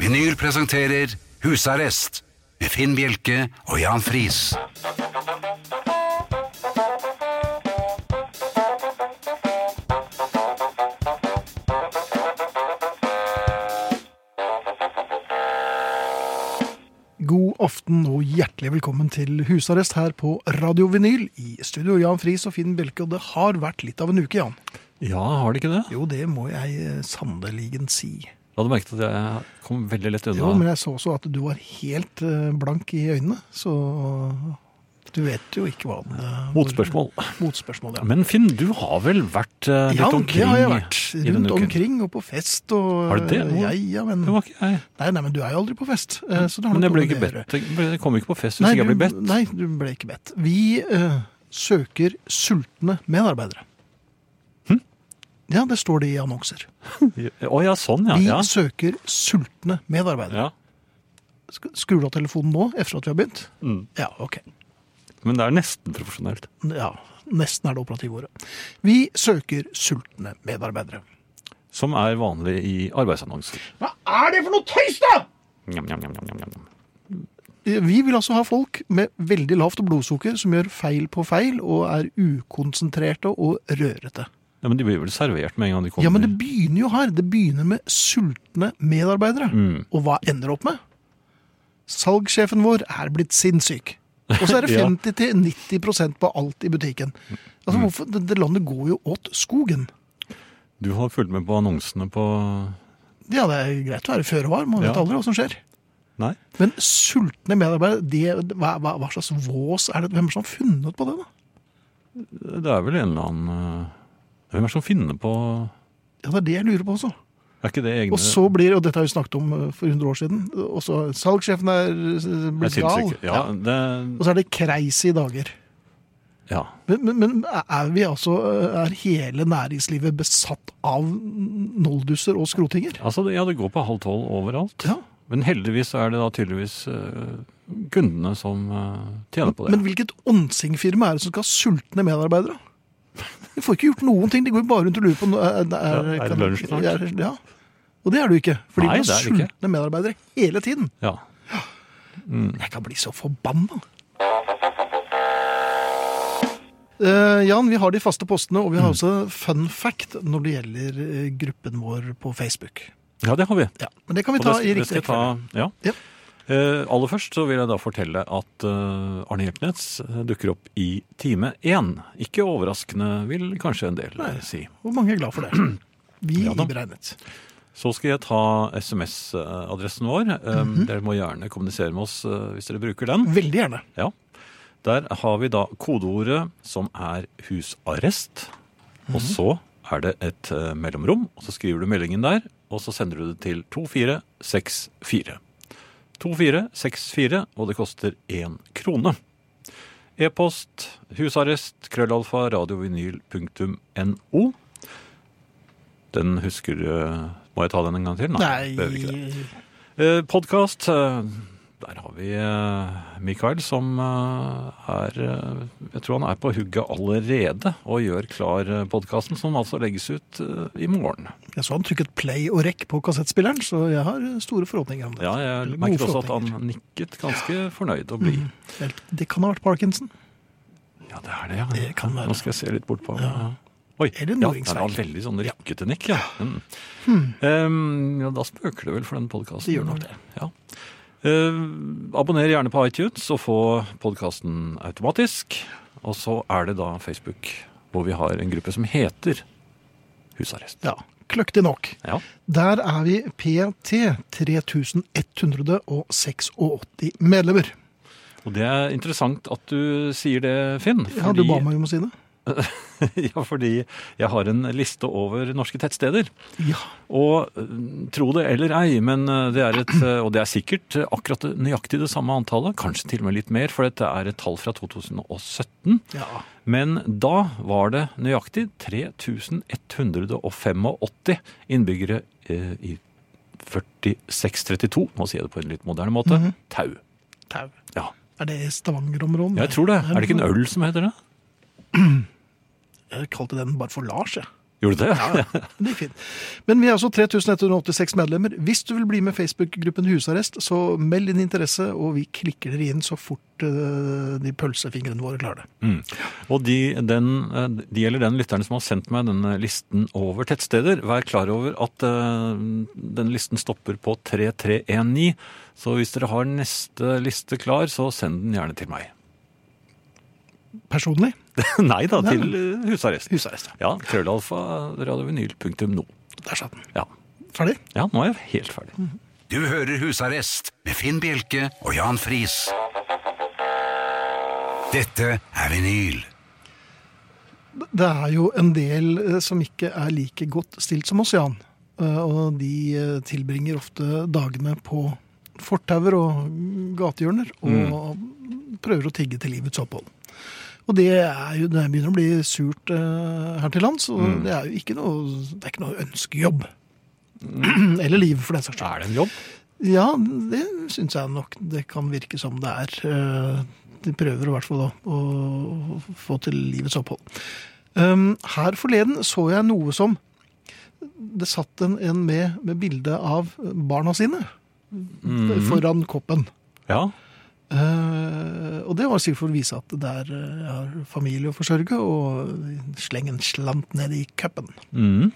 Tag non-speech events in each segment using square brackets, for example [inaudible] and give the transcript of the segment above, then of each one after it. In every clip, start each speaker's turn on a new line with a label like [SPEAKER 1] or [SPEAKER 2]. [SPEAKER 1] Vinyl presenterer Husarrest med Finn Bjelke og Jan Friis.
[SPEAKER 2] God aften og hjertelig velkommen til husarrest her på Radio Vinyl. I studio Jan Friis og Finn Bjelke, og det har vært litt av en uke, Jan.
[SPEAKER 3] Ja, har det ikke det?
[SPEAKER 2] Jo, det må jeg eh, sanneligen si.
[SPEAKER 3] Jeg hadde merket at jeg kom veldig lett unna.
[SPEAKER 2] Jo, men jeg så også at du var helt eh, blank i øynene, så du vet jo ikke hva eh, det
[SPEAKER 3] Motspørsmål.
[SPEAKER 2] Motspørsmål, ja.
[SPEAKER 3] Men Finn, du har vel vært eh, litt
[SPEAKER 2] ja,
[SPEAKER 3] omkring
[SPEAKER 2] det har jeg vært.
[SPEAKER 3] i denne
[SPEAKER 2] Rundt
[SPEAKER 3] uken?
[SPEAKER 2] omkring og på fest og
[SPEAKER 3] Har du det?
[SPEAKER 2] eh, Ja, ja, men
[SPEAKER 3] Det var ikke jeg.
[SPEAKER 2] Nei, nei, men du er jo aldri på fest. eh, Så det har
[SPEAKER 3] Men
[SPEAKER 2] nok
[SPEAKER 3] jeg ble
[SPEAKER 2] noe med
[SPEAKER 3] ikke
[SPEAKER 2] det å gjøre.
[SPEAKER 3] bedt. Jeg ble- Jeg kom ikke på fest hvis ikke jeg ble bedt.
[SPEAKER 2] Du, nei, du ble ikke bedt. Vi eh, søker sultne medarbeidere.
[SPEAKER 3] Hm?
[SPEAKER 2] Ja, det står det i annonser.
[SPEAKER 3] Å ja, sånn ja.
[SPEAKER 2] Vi
[SPEAKER 3] ja.
[SPEAKER 2] søker sultne medarbeidere.
[SPEAKER 3] ja.
[SPEAKER 2] Sk- Skrur du av telefonen nå, etter at vi har begynt?
[SPEAKER 3] Mm.
[SPEAKER 2] Ja, ok.
[SPEAKER 3] Men det er nesten profesjonelt.
[SPEAKER 2] Ja, nesten er det operative ordet. Vi søker sultne medarbeidere.
[SPEAKER 3] Som er vanlig i arbeidsannonser.
[SPEAKER 2] Hva er det for noe tøys, da?!
[SPEAKER 3] Njam, njam, njam, njam, njam, njam.
[SPEAKER 2] Vi vil altså ha folk med veldig lavt blodsukker som gjør feil på feil og er ukonsentrerte og rørete.
[SPEAKER 3] Ja, men de blir vel servert med en gang de kommer?
[SPEAKER 2] Ja, men det begynner jo her. Det begynner med sultne medarbeidere.
[SPEAKER 3] Mm.
[SPEAKER 2] Og hva ender det opp med? Salgssjefen vår er blitt sinnssyk. Og så er det
[SPEAKER 3] [laughs] Ja. Mm.
[SPEAKER 2] 50-90 på alt i butikken. Altså, hvorfor, det, det landet går jo åt skogen.
[SPEAKER 3] Du har fulgt med på annonsene på
[SPEAKER 2] Ja, det er greit å være føre var, man vet
[SPEAKER 3] Ja.
[SPEAKER 2] aldri hva som skjer.
[SPEAKER 3] Nei?
[SPEAKER 2] Men sultne medarbeidere, det, hva, hva, hva slags vås er det? Hvem er det som har funnet på det, da?
[SPEAKER 3] Det er vel en eller annen eh, Hvem er det som finner på
[SPEAKER 2] Ja, det er det jeg lurer på også.
[SPEAKER 3] Er ikke det egne
[SPEAKER 2] Og så blir, og dette har vi snakket om eh, for 100 år siden, og så salgssjefen er eh,
[SPEAKER 3] Er
[SPEAKER 2] blitt gal.
[SPEAKER 3] sinnssyke? Ja, det
[SPEAKER 2] Og så er det crazy dager.
[SPEAKER 3] Ja.
[SPEAKER 2] Men, men, men er vi altså, er hele næringslivet besatt av nolduser og skrotinger?
[SPEAKER 3] Altså, det- ja, det går på halv tolv overalt.
[SPEAKER 2] Ja.
[SPEAKER 3] Men heldigvis så er det da tydeligvis eh, kundene som eh, tjener på det.
[SPEAKER 2] Men hvilket åndsingfirma er det som skal ha sultne medarbeidere? De får ikke gjort noen ting, de går jo bare rundt og lurer på er, er,
[SPEAKER 3] Ja, er det
[SPEAKER 2] kan-
[SPEAKER 3] lunsj snart?
[SPEAKER 2] er- Ja. Og det er du ikke, fordi
[SPEAKER 3] Nei,
[SPEAKER 2] du har
[SPEAKER 3] det er det ikke.
[SPEAKER 2] sultne medarbeidere hele tiden.
[SPEAKER 3] ja. Mm.
[SPEAKER 2] Jeg kan bli så forbanna. Eh, Jan, vi har de faste postene, og vi
[SPEAKER 3] Mm.
[SPEAKER 2] har også fun fact når det gjelder eh, gruppen vår på Facebook.
[SPEAKER 3] ja, det har vi.
[SPEAKER 2] Ja, Men det kan vi
[SPEAKER 3] Og
[SPEAKER 2] ta
[SPEAKER 3] det-
[SPEAKER 2] i
[SPEAKER 3] det skal
[SPEAKER 2] riktig
[SPEAKER 3] jeg ta- Ja.
[SPEAKER 2] Ja.
[SPEAKER 3] Eh, aller først så vil jeg da fortelle at eh, Arne Hjeltnes eh, dukker opp i time én. Ikke overraskende, vil kanskje en del eh, si.
[SPEAKER 2] Og mange er glad for det. Vi
[SPEAKER 3] [clears throat] Ja da.
[SPEAKER 2] beregnet.
[SPEAKER 3] Så skal jeg ta SMS-adressen vår. Eh,
[SPEAKER 2] Mhm.
[SPEAKER 3] Dere må gjerne kommunisere med oss eh, hvis dere bruker den.
[SPEAKER 2] Veldig gjerne.
[SPEAKER 3] Ja. Der har vi da kodeordet som er husarrest. Og så er det et eh, mellomrom, og så skriver du meldingen der. Og så sender du det til 2464. 2464, og det koster én krone. E-post husarrest krøllalfa radiovinyl.no. Den husker eh, Må jeg ta den en gang til? behøver ikke det.
[SPEAKER 2] Nei
[SPEAKER 3] Eh, Podkast. eh, Der har vi eh, Mikael som eh, er eh, Jeg tror han er på hugget allerede og gjør klar podkasten, som altså legges ut eh, i morgen.
[SPEAKER 2] Jeg så han trykket play og rekk på kassettspilleren, så jeg har store forhåpninger om det.
[SPEAKER 3] Ja, jeg
[SPEAKER 2] Gode
[SPEAKER 3] merker også at
[SPEAKER 2] forhåpninger.
[SPEAKER 3] han nikket ganske fornøyd og blid.
[SPEAKER 2] Mm. Det kan ha vært Parkinson.
[SPEAKER 3] Mm. Ja, det er det, ja.
[SPEAKER 2] Det kan være.
[SPEAKER 3] Nå skal jeg se litt bort på Oi, ja,
[SPEAKER 2] Eller
[SPEAKER 3] det var
[SPEAKER 2] Nordingsveien.
[SPEAKER 3] veldig sånn rykkete nikk, ja. Mm.
[SPEAKER 2] Hmm.
[SPEAKER 3] Em, Ehm, ja. Da spøker det vel for den podkasten.
[SPEAKER 2] Det gjør nok det.
[SPEAKER 3] Ja. Eh, abonner gjerne på iTunes og få podkasten automatisk. Og så er det da Facebook, hvor vi har en gruppe som heter Husarrest.
[SPEAKER 2] Ja, Kløktig nok.
[SPEAKER 3] Ja.
[SPEAKER 2] Der er vi PT 3186 medlemmer.
[SPEAKER 3] Og det er interessant at du sier det, Finn.
[SPEAKER 2] Ja, Du ba meg om å si det.
[SPEAKER 3] [laughs] ja, fordi jeg har en liste over norske tettsteder.
[SPEAKER 2] Ja.
[SPEAKER 3] Og eh, tro det eller ei, men eh, det er et, eh, og det er sikkert eh, akkurat det- nøyaktig det samme antallet, kanskje til og med litt mer, for dette er et tall fra 2017.
[SPEAKER 2] ja.
[SPEAKER 3] Men da var det nøyaktig 3185 innbyggere eh, i 4632, nå sier jeg det på en litt moderne måte, Tau.
[SPEAKER 2] Tau.
[SPEAKER 3] Ja.
[SPEAKER 2] Er det i Stavanger-området?
[SPEAKER 3] ja, jeg tror det. Er det ikke en øl som heter det?
[SPEAKER 2] Jeg kalte den bare for Lars, jeg.
[SPEAKER 3] Gjorde du det? Ja.
[SPEAKER 2] Men Det gikk fint. Men vi er altså 3186 medlemmer. Hvis du vil bli med Facebook-gruppen Husarrest, så meld din interesse, og vi klikker dere inn så fort eh, de pølsefingrene våre klarer det.
[SPEAKER 3] Og de, den, eh, det gjelder den lytteren som har sendt meg denne listen over tettsteder. Vær klar over at eh, den listen stopper på 3319. Så hvis dere har neste liste klar, så send den gjerne til meg. [laughs]
[SPEAKER 2] Personlig
[SPEAKER 3] Nei da, til eh, husarrest.
[SPEAKER 2] husarrest.
[SPEAKER 3] Ja, krøllalfa radiovinyl.no.
[SPEAKER 2] Der satt den.
[SPEAKER 3] Ja.
[SPEAKER 2] Ferdig?
[SPEAKER 3] ja, nå er jeg helt ferdig.
[SPEAKER 1] Du hører Husarrest med Finn Bjelke og Jan Friis. Dette er vinyl.
[SPEAKER 2] Det er jo en del eh, som ikke er like godt stilt som oss, Jan. Eh, Og de eh, tilbringer ofte dagene på fortauer og gatehjørner og prøver å tigge til livets opphold. Og det, er jo, det begynner å bli surt eh, her til lands, og det er jo ikke noe, det er ikke noe ønskejobb. [clears throat] Eller liv, for den saks skyld.
[SPEAKER 3] Er det en jobb?
[SPEAKER 2] Ja, det syns jeg nok det kan virke som det er. Eh, De prøver i hvert fall å, å få til livets opphold. Um, Her forleden så jeg noe som Det satt en, en med, med bilde av barna sine foran koppen.
[SPEAKER 3] Ja.
[SPEAKER 2] Eh, og det var sikkert for å vise at det er eh, jeg har familie å forsørge, og sleng en slant ned i cupen.
[SPEAKER 3] Mm.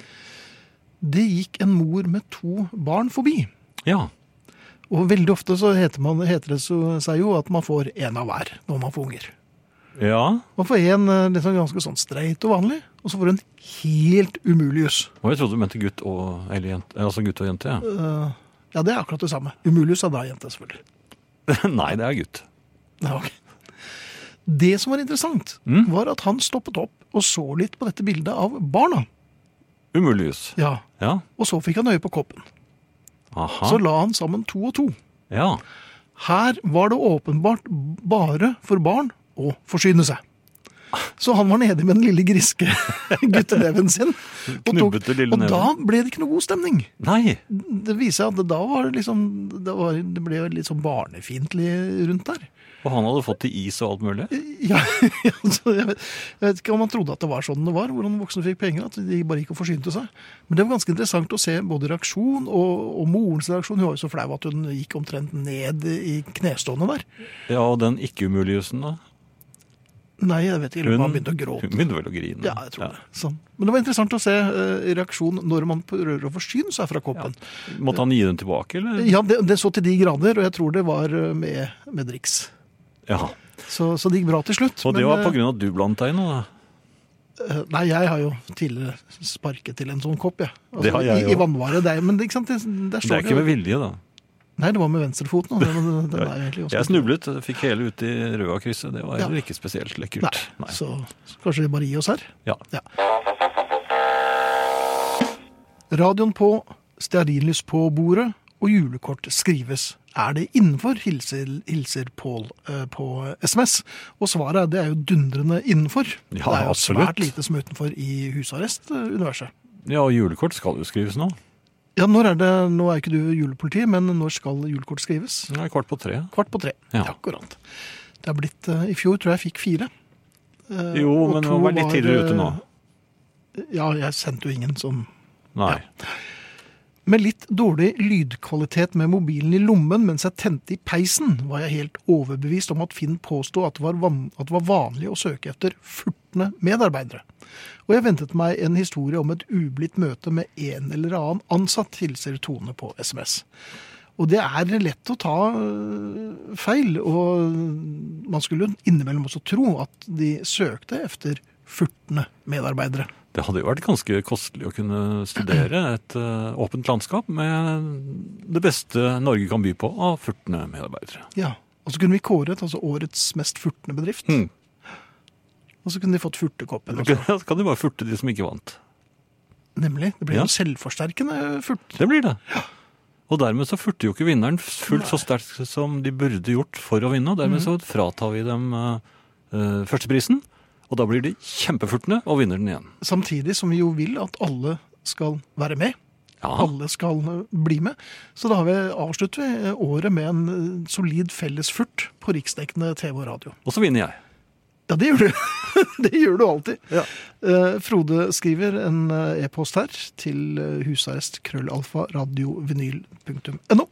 [SPEAKER 2] Det gikk en mor med to barn forbi.
[SPEAKER 3] Ja.
[SPEAKER 2] Og veldig ofte så heter, man, heter det så, seg jo at man får én av hver når man får unger.
[SPEAKER 3] Ja.
[SPEAKER 2] Man får én liksom ganske sånn streit og vanlig, og så får du en helt umulig juss.
[SPEAKER 3] Og jeg trodde du mente gutt og, eller jente, altså gutt og jente. Ja.
[SPEAKER 2] Eh, ja, det er akkurat det samme. Umulig juss er da jente, selvfølgelig.
[SPEAKER 3] [laughs] Nei, det er gutt.
[SPEAKER 2] Ja, ok. Det som var interessant,
[SPEAKER 3] Mm.
[SPEAKER 2] var at han stoppet opp og så litt på dette bildet av barna.
[SPEAKER 3] Umulig jus.
[SPEAKER 2] Ja,
[SPEAKER 3] Ja.
[SPEAKER 2] Og så fikk han øye på koppen.
[SPEAKER 3] Aha.
[SPEAKER 2] Så la han sammen to og to.
[SPEAKER 3] Ja.
[SPEAKER 2] Her var det åpenbart bare for barn å forsyne seg. Så han var nede med den lille griske [laughs] gutteneven sin. og tok-
[SPEAKER 3] Knubbete lille
[SPEAKER 2] Og da
[SPEAKER 3] neven.
[SPEAKER 2] ble det ikke noe god stemning.
[SPEAKER 3] Nei.
[SPEAKER 2] Det viser seg at det da var det liksom Det, var, det ble jo litt sånn barnefiendtlig rundt der.
[SPEAKER 3] Og han hadde fått til is og alt mulig.
[SPEAKER 2] Ja, [laughs] altså, jeg, vet, jeg vet ikke om man trodde at det var sånn det var, hvordan voksne fikk penger. At de bare gikk og forsynte seg. Men det var ganske interessant å se både reaksjon og, og morens reaksjon. Hun var jo så flau at hun gikk omtrent ned i knestående der.
[SPEAKER 3] Ja, og den ikke-umuligjusen, da.
[SPEAKER 2] Nei, jeg vet ikke. Jeg lurer på om han begynte å
[SPEAKER 3] hun
[SPEAKER 2] gråte.
[SPEAKER 3] begynte vel å grine.
[SPEAKER 2] Ja, jeg tror det. Sånn. Men det var interessant å se eh, reaksjon når man prøver å forsyne seg fra koppen.
[SPEAKER 3] Måtte han gi den tilbake,
[SPEAKER 2] Ja,
[SPEAKER 3] eller?
[SPEAKER 2] det, det så til de grader, og jeg tror det var eh, med, med driks.
[SPEAKER 3] Ja.
[SPEAKER 2] Så, så det gikk bra til slutt.
[SPEAKER 3] Så det
[SPEAKER 2] men,
[SPEAKER 3] var på
[SPEAKER 2] eh,
[SPEAKER 3] grunn av at du blandet deg inn, da?
[SPEAKER 2] eh, Nei, jeg har jo tidligere sparket til en sånn kopp, jeg.
[SPEAKER 3] Det har jeg
[SPEAKER 2] I, i
[SPEAKER 3] jo.
[SPEAKER 2] vannvare. Det, er- men det, ikke sant? Det, der
[SPEAKER 3] Det
[SPEAKER 2] står
[SPEAKER 3] er ikke
[SPEAKER 2] det
[SPEAKER 3] med
[SPEAKER 2] jo.
[SPEAKER 3] vilje, da.
[SPEAKER 2] Nei, det var med venstrefoten. og Den, den,
[SPEAKER 3] [laughs]
[SPEAKER 2] den er egentlig ganske-
[SPEAKER 3] Jeg snublet, fikk hele ut i røda krysset. Det var
[SPEAKER 2] Ja.
[SPEAKER 3] heller ikke spesielt lekkert.
[SPEAKER 2] Nei, Så, så kanskje vi bare gir oss her.
[SPEAKER 3] Ja.
[SPEAKER 2] Radioen på, stearinlys på bordet og julekort skrives. Er det innenfor, hilser, hilser Pål eh, på SMS. Og svaret er det er jo dundrende innenfor.
[SPEAKER 3] Ja,
[SPEAKER 2] det er jo
[SPEAKER 3] absolutt.
[SPEAKER 2] svært lite som er utenfor i husarrest-universet.
[SPEAKER 3] ja, og julekort skal jo skrives nå.
[SPEAKER 2] Ja, når er det, Nå er ikke du julepoliti, men når skal julekort skrives?
[SPEAKER 3] Det er kvart på tre.
[SPEAKER 2] Kvart på tre.
[SPEAKER 3] Ja.
[SPEAKER 2] Akkurat. Det er blitt, eh, I fjor tror jeg jeg fikk fire. Eh,
[SPEAKER 3] Jo,
[SPEAKER 2] og
[SPEAKER 3] men
[SPEAKER 2] to eh,
[SPEAKER 3] man var litt tidligere ute nå.
[SPEAKER 2] Ja, jeg sendte jo ingen som
[SPEAKER 3] Nei.
[SPEAKER 2] Med litt dårlig lydkvalitet med mobilen i lommen mens jeg tente i peisen, var jeg helt overbevist om at Finn påsto at, det var van- at det var vanlig å søke etter furtende medarbeidere. Og jeg ventet meg en historie om et ublidt møte med en eller annen ansatt, hilser Tone på SMS. Og det er lett å ta øh, feil, og man skulle jo innimellom også tro at de søkte efter furtende medarbeidere.
[SPEAKER 3] Det hadde jo vært ganske kostelig å kunne studere et eh, åpent landskap med det beste Norge kan by på av furtende medarbeidere.
[SPEAKER 2] Ja, og så kunne vi kåret altså årets mest furtende bedrift.
[SPEAKER 3] Mm.
[SPEAKER 2] Og så kunne de fått furtekoppen. Også.
[SPEAKER 3] Så kan [laughs] de bare furte de som ikke vant.
[SPEAKER 2] Nemlig. Det blir
[SPEAKER 3] Ja.
[SPEAKER 2] jo selvforsterkende furt.
[SPEAKER 3] Det blir det. Og dermed så furter jo ikke vinneren fullt så sterkt som de burde gjort for å vinne. Og dermed så fratar vi dem eh, eh, førsteprisen, og da blir de kjempefurtende og vinner den igjen.
[SPEAKER 2] Samtidig som vi jo vil at alle skal være med.
[SPEAKER 3] Ja,
[SPEAKER 2] Alle skal eh, bli med. Så da har vi avslutter vi eh, året med en eh, solid felles furt på riksdekkende TV og radio.
[SPEAKER 3] Og så vinner jeg.
[SPEAKER 2] Ja, det gjør du. [laughs] det gjør du alltid.
[SPEAKER 3] Ja.
[SPEAKER 2] Eh, Frode skriver en eh, e-post her til eh, husarrest krøllalfa radiovinyl.no.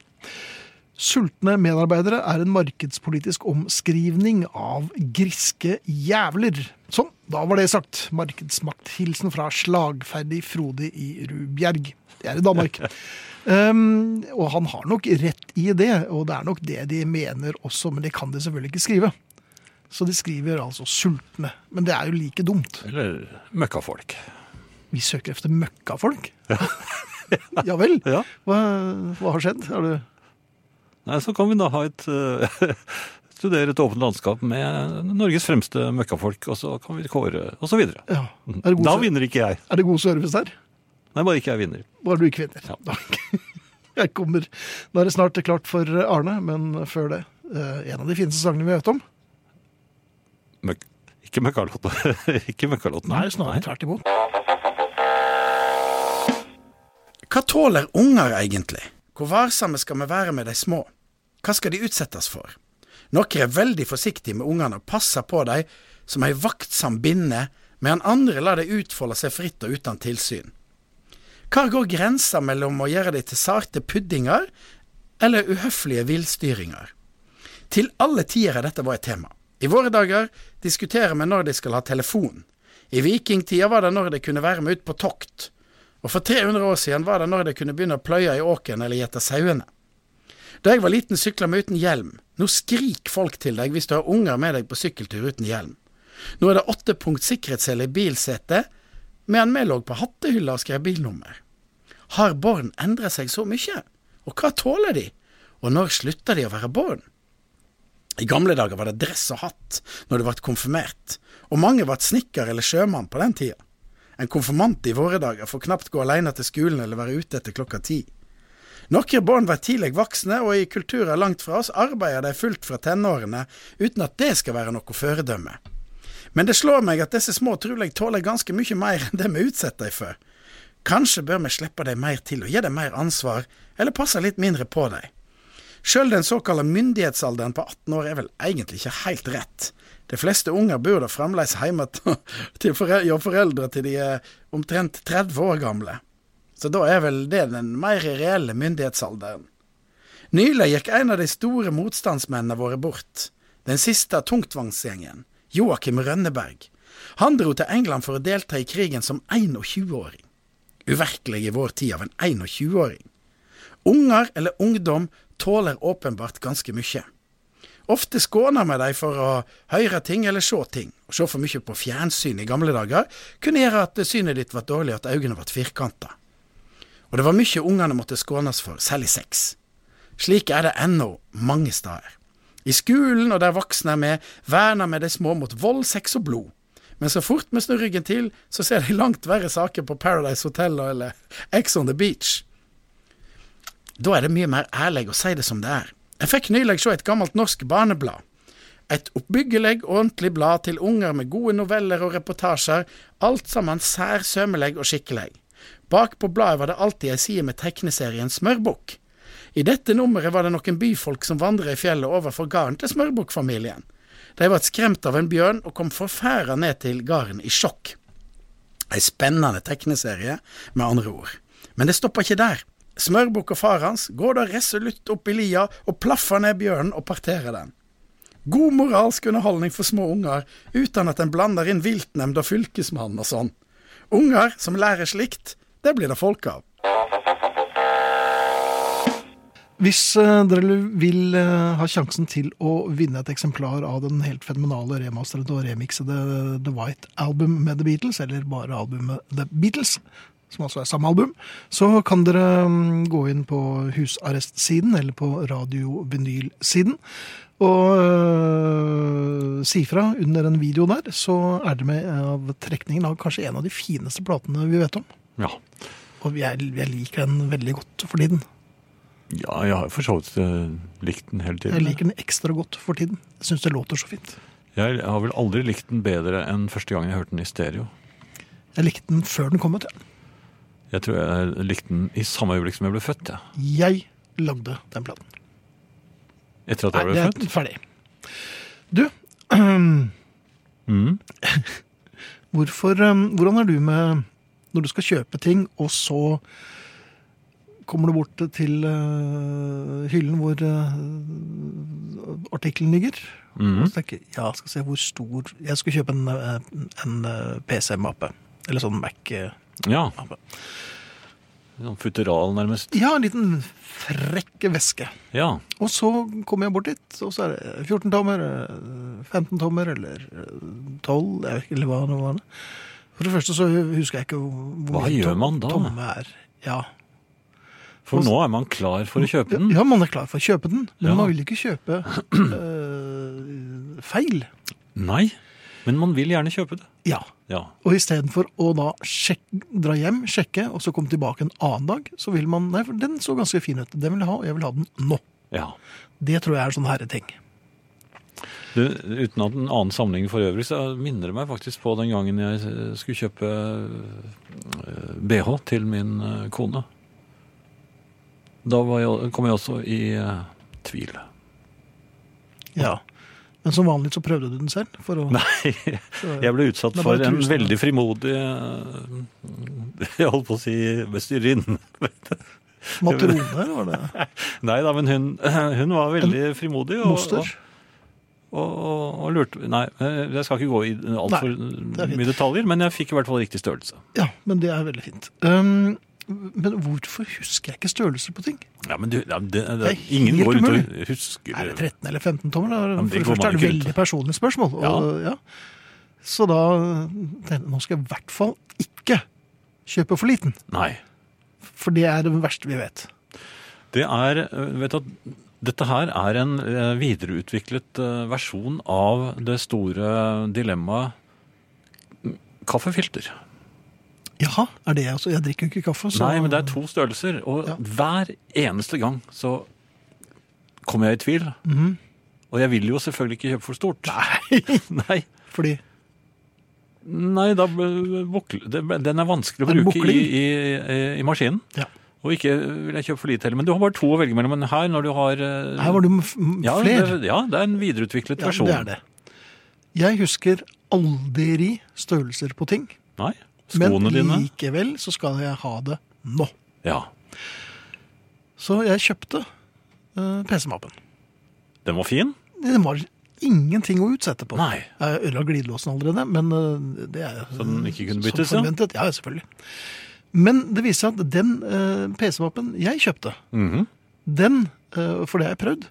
[SPEAKER 2] Sultne medarbeidere er en markedspolitisk omskrivning av griske jævler. Sånn, da var det sagt. Markedsmakthilsen fra slagferdig Frode i Rubjerg. Det er i Danmark. Um, og han har nok rett i det, og det er nok det de mener også, men det kan de selvfølgelig ikke skrive. Så de skriver altså 'sultne'. Men det er jo like dumt.
[SPEAKER 3] Eller møkkafolk.
[SPEAKER 2] Vi søker efter
[SPEAKER 3] [laughs]
[SPEAKER 2] møkkafolk. ja vel.
[SPEAKER 3] Ja.
[SPEAKER 2] Hva, hva har skjedd? Har du
[SPEAKER 3] Nei, så kan vi da ha et eh, [laughs] studere et åpent landskap med Norges fremste møkkafolk, og så kan vi kåre, og så videre.
[SPEAKER 2] ja. Er, det god,
[SPEAKER 3] Da vinner ikke jeg.
[SPEAKER 2] er det god service der?
[SPEAKER 3] Nei, bare ikke jeg vinner.
[SPEAKER 2] Bare du ikke vinner.
[SPEAKER 3] Ja.
[SPEAKER 2] [laughs] Jeg kommer. Nå er det snart klart for Arne, men før det eh, En av de fineste sangene vi vet om.
[SPEAKER 3] Møk. Ikke møkkalotten. [laughs] ikke møkkalotten.
[SPEAKER 2] Nei, snarere tvert imot.
[SPEAKER 4] Hva tåler unger egentlig? Hvor varsomme skal vi være med de små? Hva skal de utsettes for? Noen er veldig forsiktige med ungene og passer på dem som ei vaktsam binne, medan andre lar dem utfolde seg fritt og uten tilsyn. Hvor går grensa mellom å gjøre dem til sarte puddinger eller uhøflige villstyringer? Til alle tider har dette vært et tema. I våre dager diskuterer vi når de skal ha telefon. I vikingtida var det når de kunne være med ut på tokt. Og for 300 år siden var det når de kunne begynne å pløye i åkeren eller gjete sauene. Da jeg var liten sykla vi uten hjelm. Nå skriker folk til deg hvis du har unger med deg på sykkeltur uten hjelm. Nå er det åtte punkt sikkerhetssele i bilsetet, medan vi lå på hattehylla og skrev bilnummer. Har barn endret seg så mye? Og hva tåler de? Og når slutter de å være barn? I gamle dager var det dress og hatt når du ble konfirmert, og mange ble snekker eller sjømann på den tida. En konfirmant i våre dager får knapt gå alene til skolen eller være ute etter klokka ti. Noen barn blir tidlig voksne, og i kulturer langt fra oss arbeider de fullt fra tenårene, uten at det skal være noe foredømme. Men det slår meg at disse små trolig tåler ganske mye mer enn det vi utsetter dem for. Kanskje bør vi slippe dem mer til og gi dem mer ansvar, eller passe litt mindre på dem. Sjøl den såkalte myndighetsalderen på 18 år er vel egentlig ikke helt rett. De fleste unger bor da fremdeles hjemme [laughs] til- til fore- hjå foreldre til de er omtrent 30 år gamle. Så da er vel det den mer reelle myndighetsalderen. Nylig gikk en av de store motstandsmennene våre bort. Den siste tungtvangsgjengen, Joakim Rønneberg. Han dro til England for å delta i krigen som 21-åring. Uvirkelig i vår tid av en 21-åring. Unger eller ungdom tåler åpenbart ganske mye. Ofte skåner vi dem for å høre ting eller se ting. Å se for mye på fjernsyn i gamle dager kunne gjøre at synet ditt ble dårlig og at øynene ble firkanta. Og det var mye ungene måtte skånes for, særlig sex. Slik er det ennå mange steder. I skolen og der voksne er med, verner vi de små mot vold, sex og blod. Men så fort vi snur ryggen til, så ser de langt verre saker på Paradise Hotel eller Ex on the Beach. Da er det mye mer ærlig å si det som det er. Jeg fikk nylig se et gammelt norsk barneblad. Et oppbyggelig og ordentlig blad til unger med gode noveller og reportasjer, alt sammen sær sømmelig og skikkelig. Bak på bladet var det alltid ei side med tegneserien Smørbukk. I dette nummeret var det noen byfolk som vandra i fjellet overfor gården til Smørbukkfamilien. De ble skremt av en bjørn og kom forferda ned til gården i sjokk. Ei spennende tegneserie, med andre ord. Men det stopper ikke der. Smørbukk og far hans går da resolutt opp i lia og plaffer ned bjørnen og parterer den. God moralsk underholdning for små unger, uten at en blander inn viltnemnd og fylkesmann og sånn. Unger som lærer slikt, det blir det folk av.
[SPEAKER 2] Hvis eh, dere vil eh, ha sjansen til å vinne et eksemplar av den helt fenomenale remasterede og remixede The White Album med The Beatles, eller bare albumet The Beatles, som altså er samme album, så kan dere mm, gå inn på husarrestsiden eller på radiovinylsiden. Og øh, si fra under en video der, så er det med av trekningen av kanskje en av de fineste platene vi vet om.
[SPEAKER 3] Ja.
[SPEAKER 2] Og jeg, jeg liker den veldig godt for tiden.
[SPEAKER 3] ja, jeg har for så vidt eh, likt den hele tiden.
[SPEAKER 2] Jeg liker den ekstra godt for tiden. Jeg syns det låter så fint.
[SPEAKER 3] Jeg har vel aldri likt den bedre enn første gang jeg hørte den i stereo.
[SPEAKER 2] Jeg likte den før den kom ut. jeg.
[SPEAKER 3] Jeg tror jeg likte den i samme øyeblikk som jeg ble født. Ja.
[SPEAKER 2] Jeg lagde den platen.
[SPEAKER 3] Etter at
[SPEAKER 2] Nei, det
[SPEAKER 3] jeg ble
[SPEAKER 2] er [clears throat]
[SPEAKER 3] født.
[SPEAKER 2] ferdig. Du
[SPEAKER 3] Mm.
[SPEAKER 2] Hvorfor, eh, hvordan er du med når du skal kjøpe ting, og så kommer du bort til eh, hyllen hvor eh, artikkelen ligger? Og
[SPEAKER 3] Mm.
[SPEAKER 2] så tenker jeg, ja, skal se hvor stor Jeg skal kjøpe en, eh, en eh, PC-mappe. Eller sånn Mac. eh,
[SPEAKER 3] Ja.
[SPEAKER 2] mappe.
[SPEAKER 3] Sånn futteral, nærmest.
[SPEAKER 2] Ja, en liten frekk veske.
[SPEAKER 3] Ja.
[SPEAKER 2] Og så kommer jeg bort dit, og så er det 14 tommer, eh, 15 tommer, eller eh, 12, jeg vet ikke, eller hva det var. For det første så husker jeg ikke hvor
[SPEAKER 3] Hva
[SPEAKER 2] mye
[SPEAKER 3] gjør
[SPEAKER 2] to-
[SPEAKER 3] man da?
[SPEAKER 2] tomme er. Ja.
[SPEAKER 3] For nå er man klar for å kjøpe den.
[SPEAKER 2] ja, man er klar for å kjøpe den, men
[SPEAKER 3] Ja.
[SPEAKER 2] man vil ikke kjøpe eh, feil.
[SPEAKER 3] Nei, men man vil gjerne kjøpe det.
[SPEAKER 2] Ja.
[SPEAKER 3] Ja.
[SPEAKER 2] Og istedenfor å da sjek, dra hjem, sjekke, og så komme tilbake en annen dag, så vil man Nei, for den så ganske fin ut. Den vil jeg ha, og jeg vil ha den nå.
[SPEAKER 3] ja.
[SPEAKER 2] Det tror jeg er en sånn herreting.
[SPEAKER 3] Du, uten at en annen sammenligning for øvrig, så minner det meg faktisk på den gangen jeg eh, skulle kjøpe eh, BH til min eh, kone. Da var jeg, kom jeg også i eh, tvil.
[SPEAKER 2] Ja. Men som vanlig så prøvde du den selv? For å, eh,
[SPEAKER 3] Nei, [laughs] jeg ble utsatt
[SPEAKER 2] Det er
[SPEAKER 3] for
[SPEAKER 2] bare
[SPEAKER 3] en
[SPEAKER 2] trusen, da.
[SPEAKER 3] veldig frimodig eh, [laughs] Jeg holdt på å si bestyrerinne.
[SPEAKER 2] Matrone, var
[SPEAKER 3] [laughs]
[SPEAKER 2] det?
[SPEAKER 3] Nei da, men hun, [clears throat] hun var veldig frimodig. Og,
[SPEAKER 2] Moster?
[SPEAKER 3] og, og, og lurte Nei, eh, jeg skal ikke gå i altfor
[SPEAKER 2] det er fint.
[SPEAKER 3] mye detaljer, men jeg fikk i hvert fall riktig størrelse.
[SPEAKER 2] Ja, men det er veldig fint. Um, men hvorfor husker jeg ikke størrelser på ting?
[SPEAKER 3] Ja, men du, ja, det, det,
[SPEAKER 2] Det er
[SPEAKER 3] Ingen
[SPEAKER 2] helt
[SPEAKER 3] går rundt og
[SPEAKER 2] umulig.
[SPEAKER 3] husker
[SPEAKER 2] Er det 13 eller 15 tommer? Da?
[SPEAKER 3] men
[SPEAKER 2] For
[SPEAKER 3] det
[SPEAKER 2] det
[SPEAKER 3] går
[SPEAKER 2] første
[SPEAKER 3] man
[SPEAKER 2] er det
[SPEAKER 3] ikke rundt
[SPEAKER 2] veldig
[SPEAKER 3] til.
[SPEAKER 2] personlige spørsmål. Og, ja. Så da tenkte jeg nå skal jeg i hvert fall ikke kjøpe for liten.
[SPEAKER 3] Nei.
[SPEAKER 2] For det er det verste vi vet.
[SPEAKER 3] Det er øh, Vet du at dette her er en øh, videreutviklet øh, versjon av det store dilemmaet mm, kaffefilter.
[SPEAKER 2] Jaha, er det jeg også? Jeg drikker jo ikke kaffe. Så...
[SPEAKER 3] Nei, men det er to størrelser, og
[SPEAKER 2] Ja.
[SPEAKER 3] hver eneste gang så kommer jeg i tvil.
[SPEAKER 2] Mhm.
[SPEAKER 3] Og jeg vil jo selvfølgelig ikke kjøpe for stort. Nei! [laughs] Nei,
[SPEAKER 2] Fordi
[SPEAKER 3] da b- bukler det- Den er vanskelig å
[SPEAKER 2] En
[SPEAKER 3] bruke i,
[SPEAKER 2] bukling.
[SPEAKER 3] i, i, i maskinen.
[SPEAKER 2] ja.
[SPEAKER 3] Og ikke vil jeg kjøpe for lite heller. Men du har bare to å velge mellom. Men her, når du har eh,
[SPEAKER 2] Her var det jo f- m-
[SPEAKER 3] ja,
[SPEAKER 2] flere.
[SPEAKER 3] Det, ja, det er en videreutviklet
[SPEAKER 2] Ja,
[SPEAKER 3] versjon.
[SPEAKER 2] det er det. Jeg husker aldri størrelser på ting.
[SPEAKER 3] Nei, skoene
[SPEAKER 2] men
[SPEAKER 3] dine.
[SPEAKER 2] likevel så skal jeg ha det nå.
[SPEAKER 3] Ja,
[SPEAKER 2] Så jeg kjøpte eh, PC-mappen.
[SPEAKER 3] den var fin.
[SPEAKER 2] Den var ingenting å utsette på.
[SPEAKER 3] Nei. [laughs]
[SPEAKER 2] Jeg ødela glidelåsen allerede, men eh, det er
[SPEAKER 3] Så den ikke kunne
[SPEAKER 2] som
[SPEAKER 3] byttes, ja?
[SPEAKER 2] forventet. Ja, selvfølgelig. Men det viser seg at den eh, PC-mappen jeg kjøpte,
[SPEAKER 3] Mhm.
[SPEAKER 2] den, eh, for det har jeg prøvd,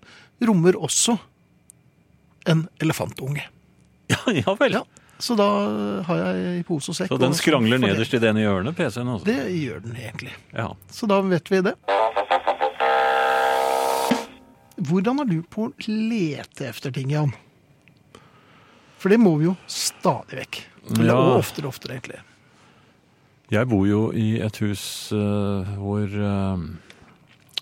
[SPEAKER 2] rommer også en elefantunge.
[SPEAKER 3] ja, ja vel.
[SPEAKER 2] Ja, så da har jeg i pose og sekk.
[SPEAKER 3] Så den
[SPEAKER 2] og-
[SPEAKER 3] skrangler
[SPEAKER 2] for det-
[SPEAKER 3] nederst i det ene hjørnet, PC-en. Altså.
[SPEAKER 2] Det gjør den egentlig.
[SPEAKER 3] Ja.
[SPEAKER 2] Så da vet vi det. Hvordan er du på å lete efter ting, Jan? For det må vi jo stadig vekk. Eller
[SPEAKER 3] Ja.
[SPEAKER 2] og oftere og oftere, egentlig.
[SPEAKER 3] Jeg bor jo i et hus eh, hvor eh,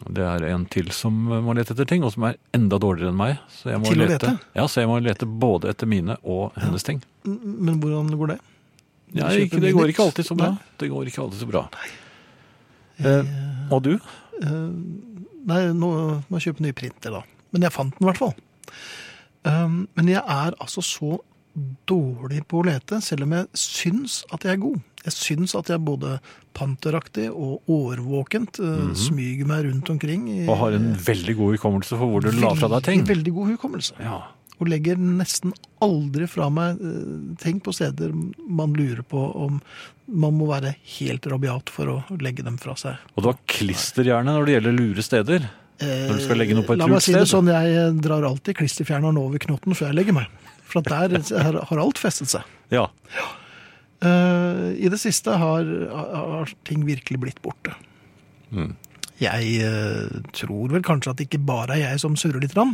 [SPEAKER 3] det er en til som må lete etter ting, og som er enda dårligere enn meg. Så jeg må
[SPEAKER 2] Til å
[SPEAKER 3] lete.
[SPEAKER 2] lete?
[SPEAKER 3] Ja, så jeg må lete både etter mine og hennes ting.
[SPEAKER 2] N- Men hvordan går det? Du
[SPEAKER 3] Ja,
[SPEAKER 2] kjøper
[SPEAKER 3] ikke, det
[SPEAKER 2] mye
[SPEAKER 3] går
[SPEAKER 2] nytt.
[SPEAKER 3] ikke alltid så bra.
[SPEAKER 2] Nei.
[SPEAKER 3] Det går ikke alltid så bra. Eh, og du?
[SPEAKER 2] Nei, nå må jeg kjøpe nye printer, da. Men jeg fant den i hvert fall. Um, men jeg er altså så dårlig på å lete, selv om jeg syns at jeg er god. Jeg syns at jeg er både panteraktig og årvåkent uh, smyger meg rundt omkring. i-
[SPEAKER 3] Mhm. Og har en veldig god hukommelse for hvor du la fra deg ting.
[SPEAKER 2] Veldig, veldig god hukommelse.
[SPEAKER 3] Ja.
[SPEAKER 2] Og legger nesten aldri fra meg eh, ting på steder man lurer på om man må være helt rabiat for å legge dem fra seg.
[SPEAKER 3] Og du har klisterhjerne når det gjelder lure steder. Når du skal legge noe på et
[SPEAKER 2] La meg
[SPEAKER 3] lurt
[SPEAKER 2] si det
[SPEAKER 3] sted.
[SPEAKER 2] sånn, jeg eh, drar alltid klisterfjerneren over knotten før jeg legger meg. For at der [laughs] har- har alt festet seg.
[SPEAKER 3] Ja.
[SPEAKER 2] Eh, I det siste har, har ting virkelig blitt borte.
[SPEAKER 3] Mm.
[SPEAKER 2] Jeg eh, tror vel kanskje at det ikke bare er jeg som surrer litt, rann,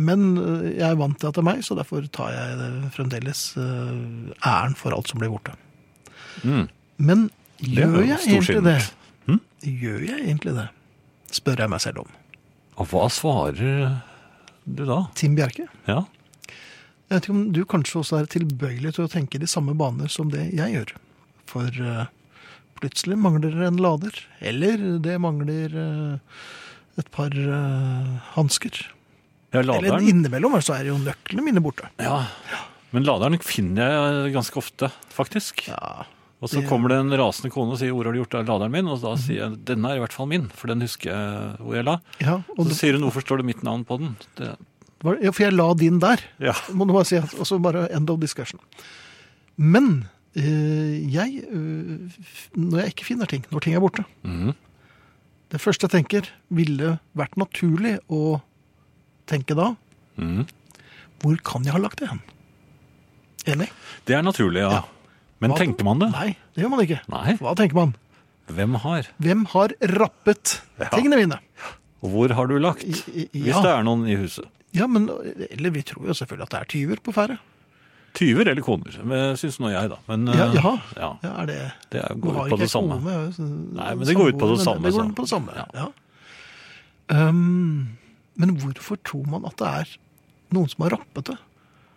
[SPEAKER 2] men eh, jeg er vant til at det er meg, så derfor tar jeg det fremdeles eh, æren for alt som blir borte.
[SPEAKER 3] Mm.
[SPEAKER 2] Men
[SPEAKER 3] er
[SPEAKER 2] gjør
[SPEAKER 3] jo
[SPEAKER 2] jeg egentlig det?
[SPEAKER 3] storsinnet. Hm?
[SPEAKER 2] Gjør jeg egentlig det? Spør jeg meg selv om.
[SPEAKER 3] Og hva svarer du da?
[SPEAKER 2] Tim Bjerke,
[SPEAKER 3] Ja.
[SPEAKER 2] jeg vet ikke om du kanskje også er tilbøyelig til å tenke i de samme baner som det jeg gjør. For eh, plutselig mangler det en lader, eller det mangler eh, et par uh, hansker.
[SPEAKER 3] Ja,
[SPEAKER 2] Eller altså,
[SPEAKER 3] laderen.
[SPEAKER 2] innimellom så er jo nøklene mine borte.
[SPEAKER 3] Ja. Men laderen finner jeg ganske ofte, faktisk.
[SPEAKER 2] Ja.
[SPEAKER 3] Og så
[SPEAKER 2] det-
[SPEAKER 3] kommer det en rasende kone og sier 'hvor har du gjort av laderen min?' Og da sier jeg 'denne er i hvert fall min', for den husker jeg hvor jeg la.
[SPEAKER 2] ja, og
[SPEAKER 3] Og så
[SPEAKER 2] det
[SPEAKER 3] sier hun 'hvorfor står det mitt navn på den?' Det,
[SPEAKER 2] var, ja, for jeg la din der.
[SPEAKER 3] ja.
[SPEAKER 2] Må du bare si at, og så bare end of discussion. Men eh, jeg eh, f- Når jeg ikke finner ting, når ting er borte
[SPEAKER 3] Mhm.
[SPEAKER 2] Det første jeg tenker, ville vært naturlig å tenke da
[SPEAKER 3] Mhm.
[SPEAKER 2] Hvor kan jeg ha lagt det hen? Enig?
[SPEAKER 3] Det er naturlig, ja.
[SPEAKER 2] Ja.
[SPEAKER 3] Men
[SPEAKER 2] Hva-
[SPEAKER 3] tenker man det?
[SPEAKER 2] Nei, det gjør man ikke.
[SPEAKER 3] Nei.
[SPEAKER 2] Hva tenker man?
[SPEAKER 3] Hvem har?
[SPEAKER 2] Hvem har rappet tingene mine?
[SPEAKER 3] Og hvor har du lagt?
[SPEAKER 2] I- i-
[SPEAKER 3] Hvis
[SPEAKER 2] ja.
[SPEAKER 3] det er noen i huset.
[SPEAKER 2] Ja, men Eller vi tror jo selvfølgelig at det er tyver på ferde.
[SPEAKER 3] Tyver eller koner, men syns nå jeg, da. Men
[SPEAKER 2] Ja,
[SPEAKER 3] eh,
[SPEAKER 2] jaha.
[SPEAKER 3] ja,
[SPEAKER 2] Ja, er det
[SPEAKER 3] det er,
[SPEAKER 2] Nå
[SPEAKER 3] går
[SPEAKER 2] har
[SPEAKER 3] ut
[SPEAKER 2] ikke
[SPEAKER 3] på det
[SPEAKER 2] jeg
[SPEAKER 3] samme.
[SPEAKER 2] kone, jeg er sånn-
[SPEAKER 3] Nei, men det går ut på
[SPEAKER 2] samboer,
[SPEAKER 3] det samme,
[SPEAKER 2] men Det går
[SPEAKER 3] så.
[SPEAKER 2] ut på det samme,
[SPEAKER 3] Ja.
[SPEAKER 2] ja. Um, men hvorfor tror man at det er noen som har rappet det?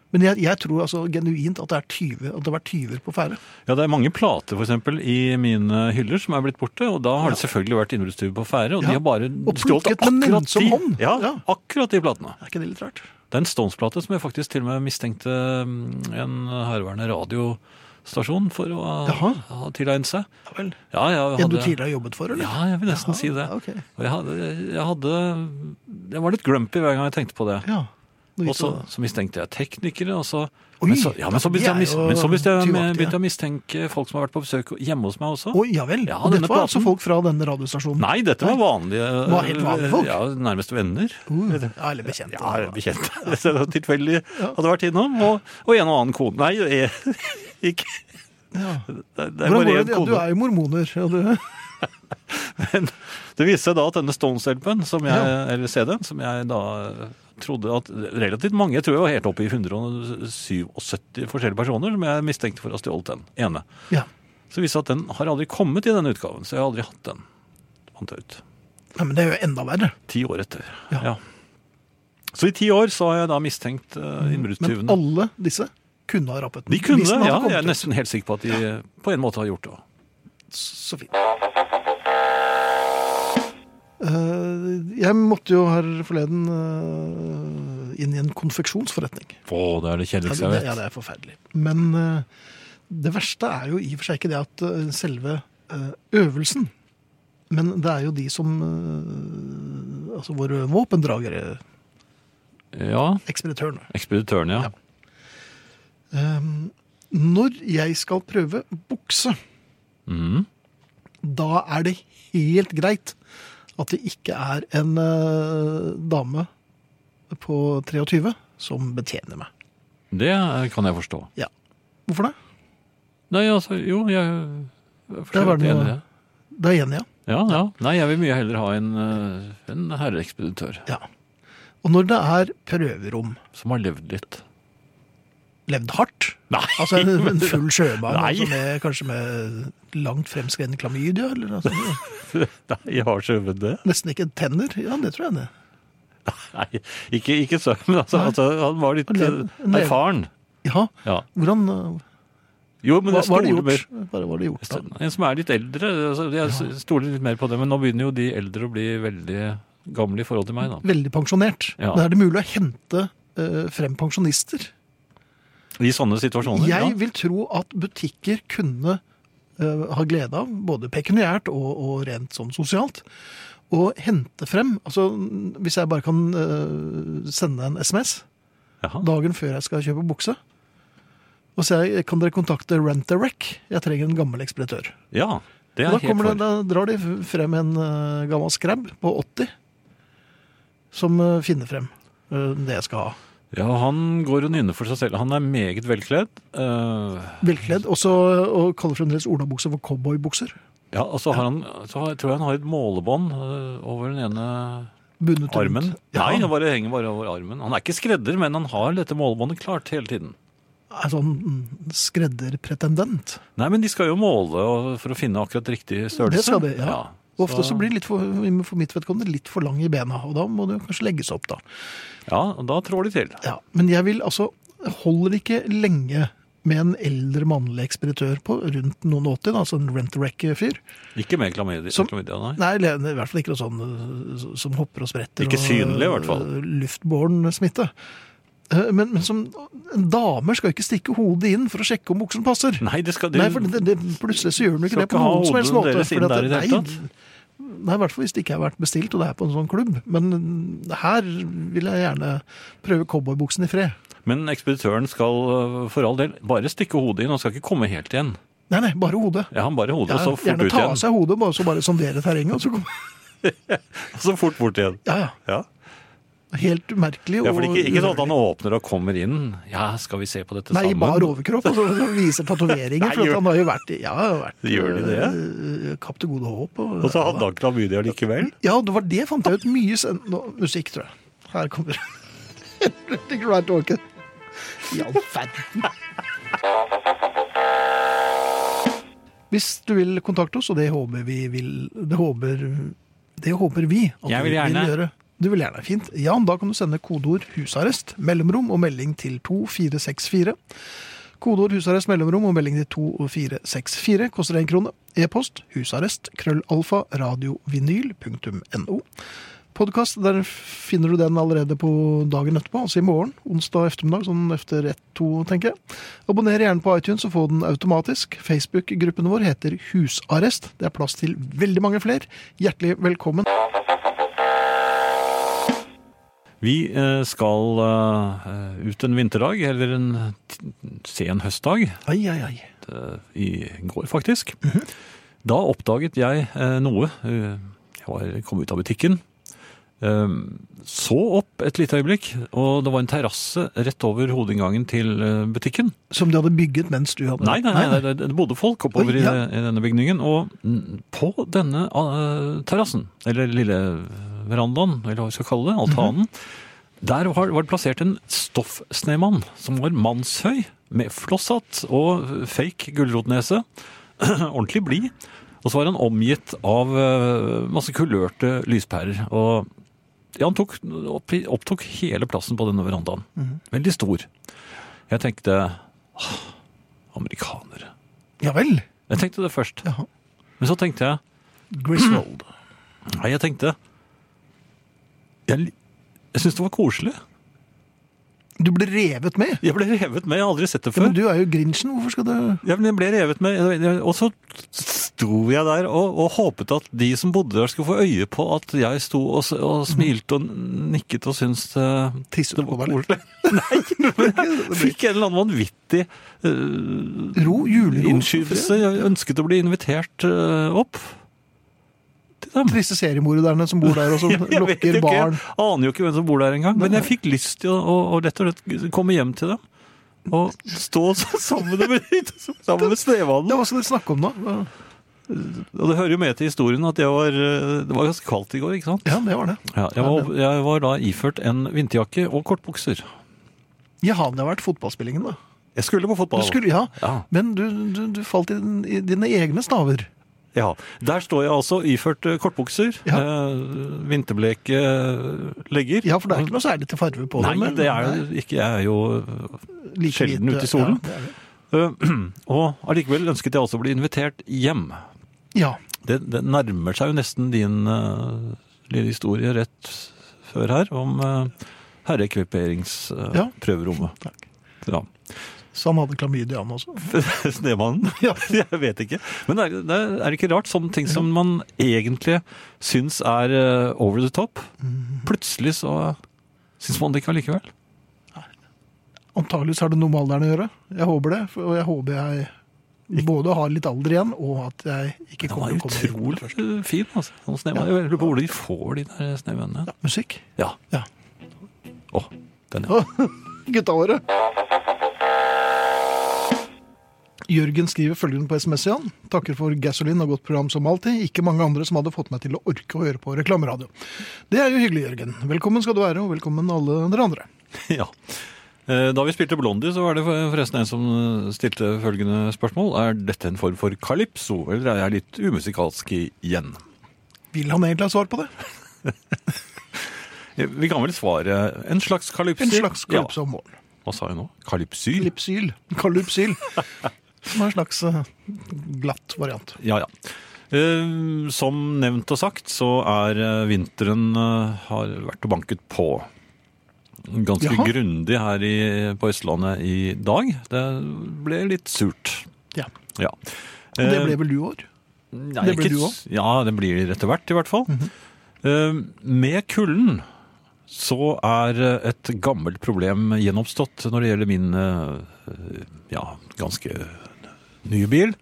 [SPEAKER 2] Men jeg, jeg tror altså genuint at det, er tyver, at det har vært tyver på ferde.
[SPEAKER 3] Ja, det er mange plater for eksempel, i mine hyller som er blitt borte, og da har det selvfølgelig vært innbruddstyver på ferde, og
[SPEAKER 2] Ja.
[SPEAKER 3] de har bare
[SPEAKER 2] Og plukket med nennsom hånd.
[SPEAKER 3] Ja,
[SPEAKER 2] Ja.
[SPEAKER 3] akkurat de platene.
[SPEAKER 2] Er ikke det litt rart?
[SPEAKER 3] Det er en Stones-plate som jeg faktisk til og med mistenkte mm, en herværende radiostasjon for å ha-
[SPEAKER 2] Jaha.
[SPEAKER 3] ha tilegnet seg.
[SPEAKER 2] Ja vel.
[SPEAKER 3] Ja, jeg
[SPEAKER 2] En du
[SPEAKER 3] hadde...
[SPEAKER 2] tidligere har jobbet for, eller?
[SPEAKER 3] Ja, jeg vil nesten
[SPEAKER 2] Jaha,
[SPEAKER 3] si det.
[SPEAKER 2] ja, ok.
[SPEAKER 3] Og jeg hadde, jeg hadde Jeg var litt grumpy hver gang jeg tenkte på det.
[SPEAKER 2] Ja. Nå
[SPEAKER 3] Og
[SPEAKER 2] gikk
[SPEAKER 3] så,
[SPEAKER 2] det-
[SPEAKER 3] så mistenkte jeg teknikere, og så
[SPEAKER 2] Oi,
[SPEAKER 3] men så, ja, men så
[SPEAKER 2] de er
[SPEAKER 3] begynte jeg, mis,
[SPEAKER 2] jo
[SPEAKER 3] men så begynte jeg,
[SPEAKER 2] tyvaktige.
[SPEAKER 3] begynte jeg å mistenke folk som har vært på besøk hjemme hos meg også.
[SPEAKER 2] Å, ja vel.
[SPEAKER 3] Ja,
[SPEAKER 2] og
[SPEAKER 3] denne
[SPEAKER 2] dette var altså
[SPEAKER 3] platen.
[SPEAKER 2] folk fra denne radiostasjonen?
[SPEAKER 3] Nei, dette var vanlige,
[SPEAKER 2] Var helt vanlige folk?
[SPEAKER 3] Ja, nærmest venner.
[SPEAKER 2] Uh, ja, eller bekjente.
[SPEAKER 3] Ja, bekjente. Så [laughs] det var Tilfeldig hadde vært innom. Og, og en og annen kone. Nei, jeg, [laughs] ikke
[SPEAKER 2] Ja.
[SPEAKER 3] det er
[SPEAKER 2] Hvordan
[SPEAKER 3] bare
[SPEAKER 2] går
[SPEAKER 3] én
[SPEAKER 2] det? Ja, du
[SPEAKER 3] kone.
[SPEAKER 2] er jo mormoner. Ja, du...
[SPEAKER 3] Men det viste seg da at denne Stones-LP-en, som jeg,
[SPEAKER 2] Ja.
[SPEAKER 3] eller CD-en, som jeg da eh, trodde at relativt mange, jeg tror jeg var helt oppe i 177 forskjellige personer, som jeg mistenkte for å ha stjålet den ene.
[SPEAKER 2] ja.
[SPEAKER 3] Så viste det seg at den har aldri kommet i denne utgaven, så jeg har aldri hatt den. Fant jeg ut.
[SPEAKER 2] Nei, men det er jo enda verre.
[SPEAKER 3] Ti år etter.
[SPEAKER 2] Ja.
[SPEAKER 3] Ja. Så i ti år så har jeg da mistenkt eh,
[SPEAKER 2] Mm, Men
[SPEAKER 3] innbruddstyvene.
[SPEAKER 2] alle disse kunne ha rappet. den.
[SPEAKER 3] De kunne,
[SPEAKER 2] Hvis den hadde
[SPEAKER 3] ja.
[SPEAKER 2] kommet
[SPEAKER 3] Jeg er
[SPEAKER 2] ut.
[SPEAKER 3] nesten helt sikker på at de eh, på en måte har gjort det.
[SPEAKER 2] Så fint. Eh, jeg måtte jo her forleden eh, inn i en konfeksjonsforretning.
[SPEAKER 3] Å, det er det
[SPEAKER 2] Ja,
[SPEAKER 3] kjedeligste
[SPEAKER 2] det, ja, det er forferdelig. Men eh, det verste er jo i og for seg ikke det at eh, selve eh, øvelsen Men det er jo de som eh, Altså våre våpendragere,
[SPEAKER 3] Ja.
[SPEAKER 2] ekspeditørene.
[SPEAKER 3] Ekspeditøren, ja.
[SPEAKER 2] Ja. Eh, når jeg skal prøve bukse,
[SPEAKER 3] Mhm.
[SPEAKER 2] da er det helt greit at det ikke er en eh, dame på 23 som betjener meg.
[SPEAKER 3] Det eh, kan jeg forstå.
[SPEAKER 2] Ja. Hvorfor det?
[SPEAKER 3] Nei, altså, jo, jeg jeg er for
[SPEAKER 2] Der
[SPEAKER 3] så
[SPEAKER 2] var
[SPEAKER 3] vidt
[SPEAKER 2] det noe-
[SPEAKER 3] enig i det.
[SPEAKER 2] Det er Jenny, ja.
[SPEAKER 3] Ja, ja. Nei, jeg vil mye heller ha en, eh, en herreekspeditør
[SPEAKER 2] ja. Og når det er prøverom,
[SPEAKER 3] som har levd litt.
[SPEAKER 2] levd hardt
[SPEAKER 3] Nei,
[SPEAKER 2] Altså en,
[SPEAKER 3] men
[SPEAKER 2] en
[SPEAKER 3] du-
[SPEAKER 2] full sjømann,
[SPEAKER 3] Nei.
[SPEAKER 2] altså med, kanskje med langt fremskreden klamydia, eller noe sånt.
[SPEAKER 3] Nei, jeg har ikke øvd det.
[SPEAKER 2] Nesten ikke tenner. Ja, det tror jeg det.
[SPEAKER 3] Nei, ikke, ikke så, men altså, altså, han var litt
[SPEAKER 2] Han levde-
[SPEAKER 3] eh,
[SPEAKER 2] han levde.
[SPEAKER 3] erfaren.
[SPEAKER 2] Ja,
[SPEAKER 3] Ja.
[SPEAKER 2] hvordan eh,
[SPEAKER 3] Jo, men
[SPEAKER 2] Hva,
[SPEAKER 3] jeg
[SPEAKER 2] hva har de
[SPEAKER 3] stoler
[SPEAKER 2] gjort?
[SPEAKER 3] mer
[SPEAKER 2] Bare hva har de gjort da?
[SPEAKER 3] En som er litt eldre, altså, jeg s- stoler litt mer på det, men nå begynner jo de eldre å bli veldig gamle i forhold til meg, da.
[SPEAKER 2] Veldig pensjonert.
[SPEAKER 3] Ja.
[SPEAKER 2] Da er det mulig å hente eh, frem pensjonister.
[SPEAKER 3] I sånne situasjoner,
[SPEAKER 2] Jeg
[SPEAKER 3] ja.
[SPEAKER 2] vil tro at butikker kunne eh, ha glede av, både pekuniært og, og rent sånn sosialt, å hente frem Altså, hvis jeg bare kan eh, sende en SMS
[SPEAKER 3] Jaha.
[SPEAKER 2] dagen før jeg skal kjøpe bukse, og så jeg, kan dere kontakte Rent-A-Wreck? Jeg trenger en gammel ekspeditør.
[SPEAKER 3] Ja, det er
[SPEAKER 2] Da,
[SPEAKER 3] jeg helt
[SPEAKER 2] kommer det,
[SPEAKER 3] for.
[SPEAKER 2] da drar de frem en eh, gammel skrabb på 80 som eh, finner frem eh, det jeg skal ha.
[SPEAKER 3] Ja, han går og nynner for seg selv. Han er meget velkledd. eh,
[SPEAKER 2] Velkledd. Og så og kaller fremdeles olabukser for cowboybukser.
[SPEAKER 3] Ja, og så, har han, så har, tror jeg han har et målebånd øh, over den ene
[SPEAKER 2] Bundet rundt.
[SPEAKER 3] armen.
[SPEAKER 2] Ja,
[SPEAKER 3] Nei, det bare henger bare over armen. Han er ikke skredder, men han har dette målebåndet klart hele tiden.
[SPEAKER 2] er sånn mm, skredderpretendent.
[SPEAKER 3] Nei, men de skal jo måle og- for å finne akkurat riktig størrelse.
[SPEAKER 2] Det skal de, ja. Og Ofte så
[SPEAKER 3] sånn. så-
[SPEAKER 2] blir det litt for, for mitt vedkommende litt for lang i bena, og da må det jo kanskje legges opp, da.
[SPEAKER 3] Ja, og da trår de til.
[SPEAKER 2] Ja, men jeg vil altså Holder ikke lenge med en eldre mannlig ekspeditør på rundt noen 80, da, altså en rent-a-wreck-fyr.
[SPEAKER 3] Ikke med klamydia,
[SPEAKER 2] Som-
[SPEAKER 3] klamydia nei.
[SPEAKER 2] Nei, eller i hvert fall ikke noe sånn øh, som hopper og spretter.
[SPEAKER 3] Ikke synlig, i hvert fall.
[SPEAKER 2] Og øh, luftbåren smitte. Eh, Men, men som en dame skal ikke stikke hodet inn for å sjekke om buksen passer.
[SPEAKER 3] Nei, det skal du
[SPEAKER 2] Nei, for det, det, plutselig så gjør den jo ikke
[SPEAKER 3] Skal
[SPEAKER 2] det på
[SPEAKER 3] ikke ha
[SPEAKER 2] noen som helst
[SPEAKER 3] hodet
[SPEAKER 2] måte.
[SPEAKER 3] deres inn
[SPEAKER 2] fordi at-
[SPEAKER 3] der i det hele
[SPEAKER 2] nei,
[SPEAKER 3] tatt.
[SPEAKER 2] Nei, i hvert fall hvis det ikke har vært bestilt, og det er på en sånn klubb. Men eh, her vil jeg gjerne prøve cowboybuksen i fred.
[SPEAKER 3] Men ekspeditøren skal øh, for all del bare stikke hodet inn, han skal ikke komme helt igjen.
[SPEAKER 2] Nei, nei, bare hodet.
[SPEAKER 3] Ja, han bare hodet,
[SPEAKER 2] Ja,
[SPEAKER 3] og så fort
[SPEAKER 2] gjerne
[SPEAKER 3] ut
[SPEAKER 2] ta av
[SPEAKER 3] igjen.
[SPEAKER 2] seg hodet, bare, så bare sondere terrenget, og så kommer [laughs]
[SPEAKER 3] Og Så fort bort igjen.
[SPEAKER 2] Ja, ja.
[SPEAKER 3] Ja,
[SPEAKER 2] Helt umerkelig.
[SPEAKER 3] ja for
[SPEAKER 2] og
[SPEAKER 3] ikke, ikke sånn at han
[SPEAKER 2] uhøvelig.
[SPEAKER 3] åpner og kommer inn. Ja, skal vi se på dette
[SPEAKER 2] Nei, i
[SPEAKER 3] sammen?
[SPEAKER 2] bar overkropp, og så så viser tatoveringer.
[SPEAKER 3] [laughs] Nei,
[SPEAKER 2] for
[SPEAKER 3] gjør-
[SPEAKER 2] at han har jo vært, i- ja, har vært
[SPEAKER 3] Gjør de
[SPEAKER 2] det? Kapp til gode håp. Og,
[SPEAKER 3] Og så hadde han klamydia likevel.
[SPEAKER 2] Ja, det var det fant jeg ut mye sen... Nå, musikk, tror jeg. Her kommer Helvete, Grand Talken. I all verden. Hvis du vil kontakte oss, og det håper vi vil Det håper, det håper vi at
[SPEAKER 3] Jeg
[SPEAKER 2] du
[SPEAKER 3] vil gjerne.
[SPEAKER 2] gjøre. Du vil gjerne, fint. Jan, da kan du sende kodeord 'husarrest', mellomrom og melding til 2464. Kodeord 'husarrest', mellomrom og melding til 2464 koster én krone. E-post husarrest krøllalfa radiovinyl.no. Podkast, der finner du den allerede på dagen etterpå, altså i morgen. Onsdag ettermiddag, sånn efter ett-to, tenker jeg. Abonner gjerne på iTunes og få den automatisk. Facebook-gruppen vår heter Husarrest. Det er plass til veldig mange flere. Hjertelig velkommen.
[SPEAKER 3] Vi eh, skal eh, ut en vinterdag, eller en t- sen høstdag,
[SPEAKER 2] Ai, ai, ai.
[SPEAKER 3] eh, i går faktisk. Da oppdaget jeg eh, noe. Eh, Jeg var, kom ut av butikken. eh, Så opp et lite øyeblikk, og det var en terrasse rett over hovedinngangen til eh, butikken.
[SPEAKER 2] Som de hadde bygget mens du hadde
[SPEAKER 3] Nei, nei, nei, det- det bodde folk oppover
[SPEAKER 2] Oi,
[SPEAKER 3] i,
[SPEAKER 2] ja.
[SPEAKER 3] i denne bygningen. Og mm, på denne eh, terrassen, eller lille verandaen, eller hva vi skal kalle det, altanen,
[SPEAKER 2] Mhm.
[SPEAKER 3] der var, var det plassert en stoffsnemann som var mannshøy, med flosshatt og fake gulrotnese. [clears throat] Ordentlig blid. Og så var han omgitt av eh, masse kulørte lyspærer. Og ja, han tok, opp, opptok hele plassen på denne verandaen.
[SPEAKER 2] Mhm.
[SPEAKER 3] Veldig stor. Jeg tenkte amerikanere.
[SPEAKER 2] Ja vel.
[SPEAKER 3] Jeg tenkte det først.
[SPEAKER 2] Jaha.
[SPEAKER 3] Men så tenkte jeg
[SPEAKER 2] Griswold.
[SPEAKER 3] Nei, jeg tenkte Jeg, li- jeg syntes det var koselig.
[SPEAKER 2] [clears throat] Du ble revet med.
[SPEAKER 3] Jeg ble revet med. Jeg har aldri sett det
[SPEAKER 2] Ja,
[SPEAKER 3] før.
[SPEAKER 2] men du er jo Grinchen, hvorfor skal du
[SPEAKER 3] Ja, men jeg ble revet med, og så sto jeg der og, og håpet at de som bodde der skulle få øye på at jeg sto og, s- og smilte og nikket og syntes det,
[SPEAKER 2] Tisset
[SPEAKER 3] det
[SPEAKER 2] på
[SPEAKER 3] var
[SPEAKER 2] meg litt.
[SPEAKER 3] koselig. Nei, men jeg fikk en eller annen vanvittig eh,
[SPEAKER 2] Ro, julero.
[SPEAKER 3] innskytelse. Jeg ønsket å bli invitert eh, opp til dem.
[SPEAKER 2] Triste seriemorderne som bor der og
[SPEAKER 3] [laughs]
[SPEAKER 2] som
[SPEAKER 3] Jeg vet jo
[SPEAKER 2] lokker
[SPEAKER 3] ikke,
[SPEAKER 2] barn.
[SPEAKER 3] Jeg aner jo ikke hvem som bor der engang. Men jeg fikk lyst til å, å, å rett og slett komme hjem til dem. Og stå [laughs] sammen med, sammen
[SPEAKER 2] Ja,
[SPEAKER 3] med snømannen.
[SPEAKER 2] hva skal dere snakke om da?
[SPEAKER 3] Og det hører jo med til historien at jeg var eh, Det var ganske kaldt i går, ikke sant?
[SPEAKER 2] Ja, det var det.
[SPEAKER 3] Ja, jeg, var, jeg var da iført en vinterjakke og kortbukser.
[SPEAKER 2] Jaha, det har vært fotballspillingen da.
[SPEAKER 3] Jeg skulle på
[SPEAKER 2] Du
[SPEAKER 3] fotball.
[SPEAKER 2] skulle, ja.
[SPEAKER 3] Ja.
[SPEAKER 2] Men du, du, du falt i, den, i dine egne staver.
[SPEAKER 3] Ja, Der står jeg altså iført eh, kortbukser,
[SPEAKER 2] Ja.
[SPEAKER 3] eh, vinterbleke eh, legger.
[SPEAKER 2] Ja, for det er ikke noe særlig til farve på
[SPEAKER 3] Nei,
[SPEAKER 2] det. men-
[SPEAKER 3] det er jo ikke Jeg er jo
[SPEAKER 2] Nei, like
[SPEAKER 3] sjelden
[SPEAKER 2] lite-
[SPEAKER 3] ute i solen.
[SPEAKER 2] Ja, det er det.
[SPEAKER 3] Øh, [clears throat] Og allikevel ønsket jeg altså å bli invitert hjem.
[SPEAKER 2] ja.
[SPEAKER 3] Det, det nærmer seg jo nesten din øh, lille historie rett før her om
[SPEAKER 2] Ja.
[SPEAKER 3] uh, herreekviperingsprøverommet.
[SPEAKER 2] Takk.
[SPEAKER 3] ja. [laughs]
[SPEAKER 2] Så han hadde klamydia han også.
[SPEAKER 3] Snemannen?
[SPEAKER 2] [laughs] Ja.
[SPEAKER 3] [laughs] Jeg vet ikke. Men er, det er det ikke rart? Sånne ting som man egentlig syns er øh, over the top.
[SPEAKER 2] Mhm.
[SPEAKER 3] Plutselig så syns man det ikke allikevel.
[SPEAKER 2] Antageligvis har det noe med alderen å gjøre. Jeg håper det, for- og jeg håper jeg både har litt alder igjen, og at jeg ikke
[SPEAKER 3] Den var
[SPEAKER 2] kommer til å komme dit
[SPEAKER 3] utrolig
[SPEAKER 2] først.
[SPEAKER 3] øh, fin, altså. Sånn snemann. Jeg lurer på hvor de får de der snemennene.
[SPEAKER 2] Ja, musikk.
[SPEAKER 3] Ja.
[SPEAKER 2] Ja.
[SPEAKER 3] Å, den er
[SPEAKER 2] Gutta våre. Jørgen skriver følgende på sms igjen. Takker for Gasoline og godt program som alltid. Ikke mange andre som hadde fått meg til å orke å høre på reklameradio. Det er jo hyggelig, Jørgen. Velkommen skal du være, og velkommen alle dere andre.
[SPEAKER 3] [laughs] Ja. Eh, Da vi spilte Blondie, så var det forresten en som eh, stilte følgende spørsmål. Er dette en form for calypso, eller er jeg litt umusikalsk igjen?
[SPEAKER 2] Vil han egentlig ha svar på det?
[SPEAKER 3] Eh, Vi kan vel svare en slags kalypsyl?
[SPEAKER 2] En slags kalypso om våren.
[SPEAKER 3] Ja. Hva sa jeg nå? Kalypsyl?
[SPEAKER 2] Lipsyl. Kalypsyl. Som er en slags eh, glatt variant.
[SPEAKER 3] Ja, ja. Eh, Som nevnt og sagt, så er eh, vinteren eh, har vært og banket på. ganske
[SPEAKER 2] Jaha.
[SPEAKER 3] grundig her i, på Østlandet i dag. Det ble litt surt.
[SPEAKER 2] Ja.
[SPEAKER 3] Ja.
[SPEAKER 2] Men det
[SPEAKER 3] Eh,
[SPEAKER 2] ble vel du år?
[SPEAKER 3] Nei,
[SPEAKER 2] Det ble
[SPEAKER 3] ikke
[SPEAKER 2] du Mhm.
[SPEAKER 3] s- Ja, det blir det etter hvert, i hvert fall. Eh, Med kulden så er eh, et gammelt problem gjenoppstått når det gjelder min eh, eh, ja, ganske nye bil.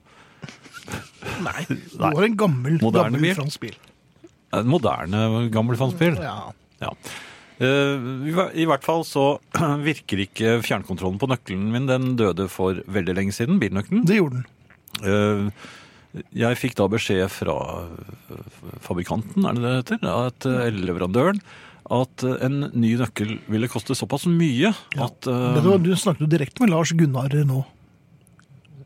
[SPEAKER 2] Nei. Du
[SPEAKER 3] Nei.
[SPEAKER 2] har en gammel,
[SPEAKER 3] Moderne
[SPEAKER 2] gammel
[SPEAKER 3] bil.
[SPEAKER 2] fransk bil.
[SPEAKER 3] En moderne, gammel fansbil.
[SPEAKER 2] Ja.
[SPEAKER 3] Ja. Eh, i hver- I hvert fall så [clears throat] virker ikke fjernkontrollen på nøkkelen min. Den døde for veldig lenge siden, bilnøkkelen.
[SPEAKER 2] Det gjorde den.
[SPEAKER 3] Eh, Jeg fikk da beskjed fra eh, fabrikanten, er det det heter, at, eh, eller leverandøren, at eh, en ny nøkkel ville koste såpass mye at eh,
[SPEAKER 2] Men det var, du snakket jo direkte med Lars Gunnar nå.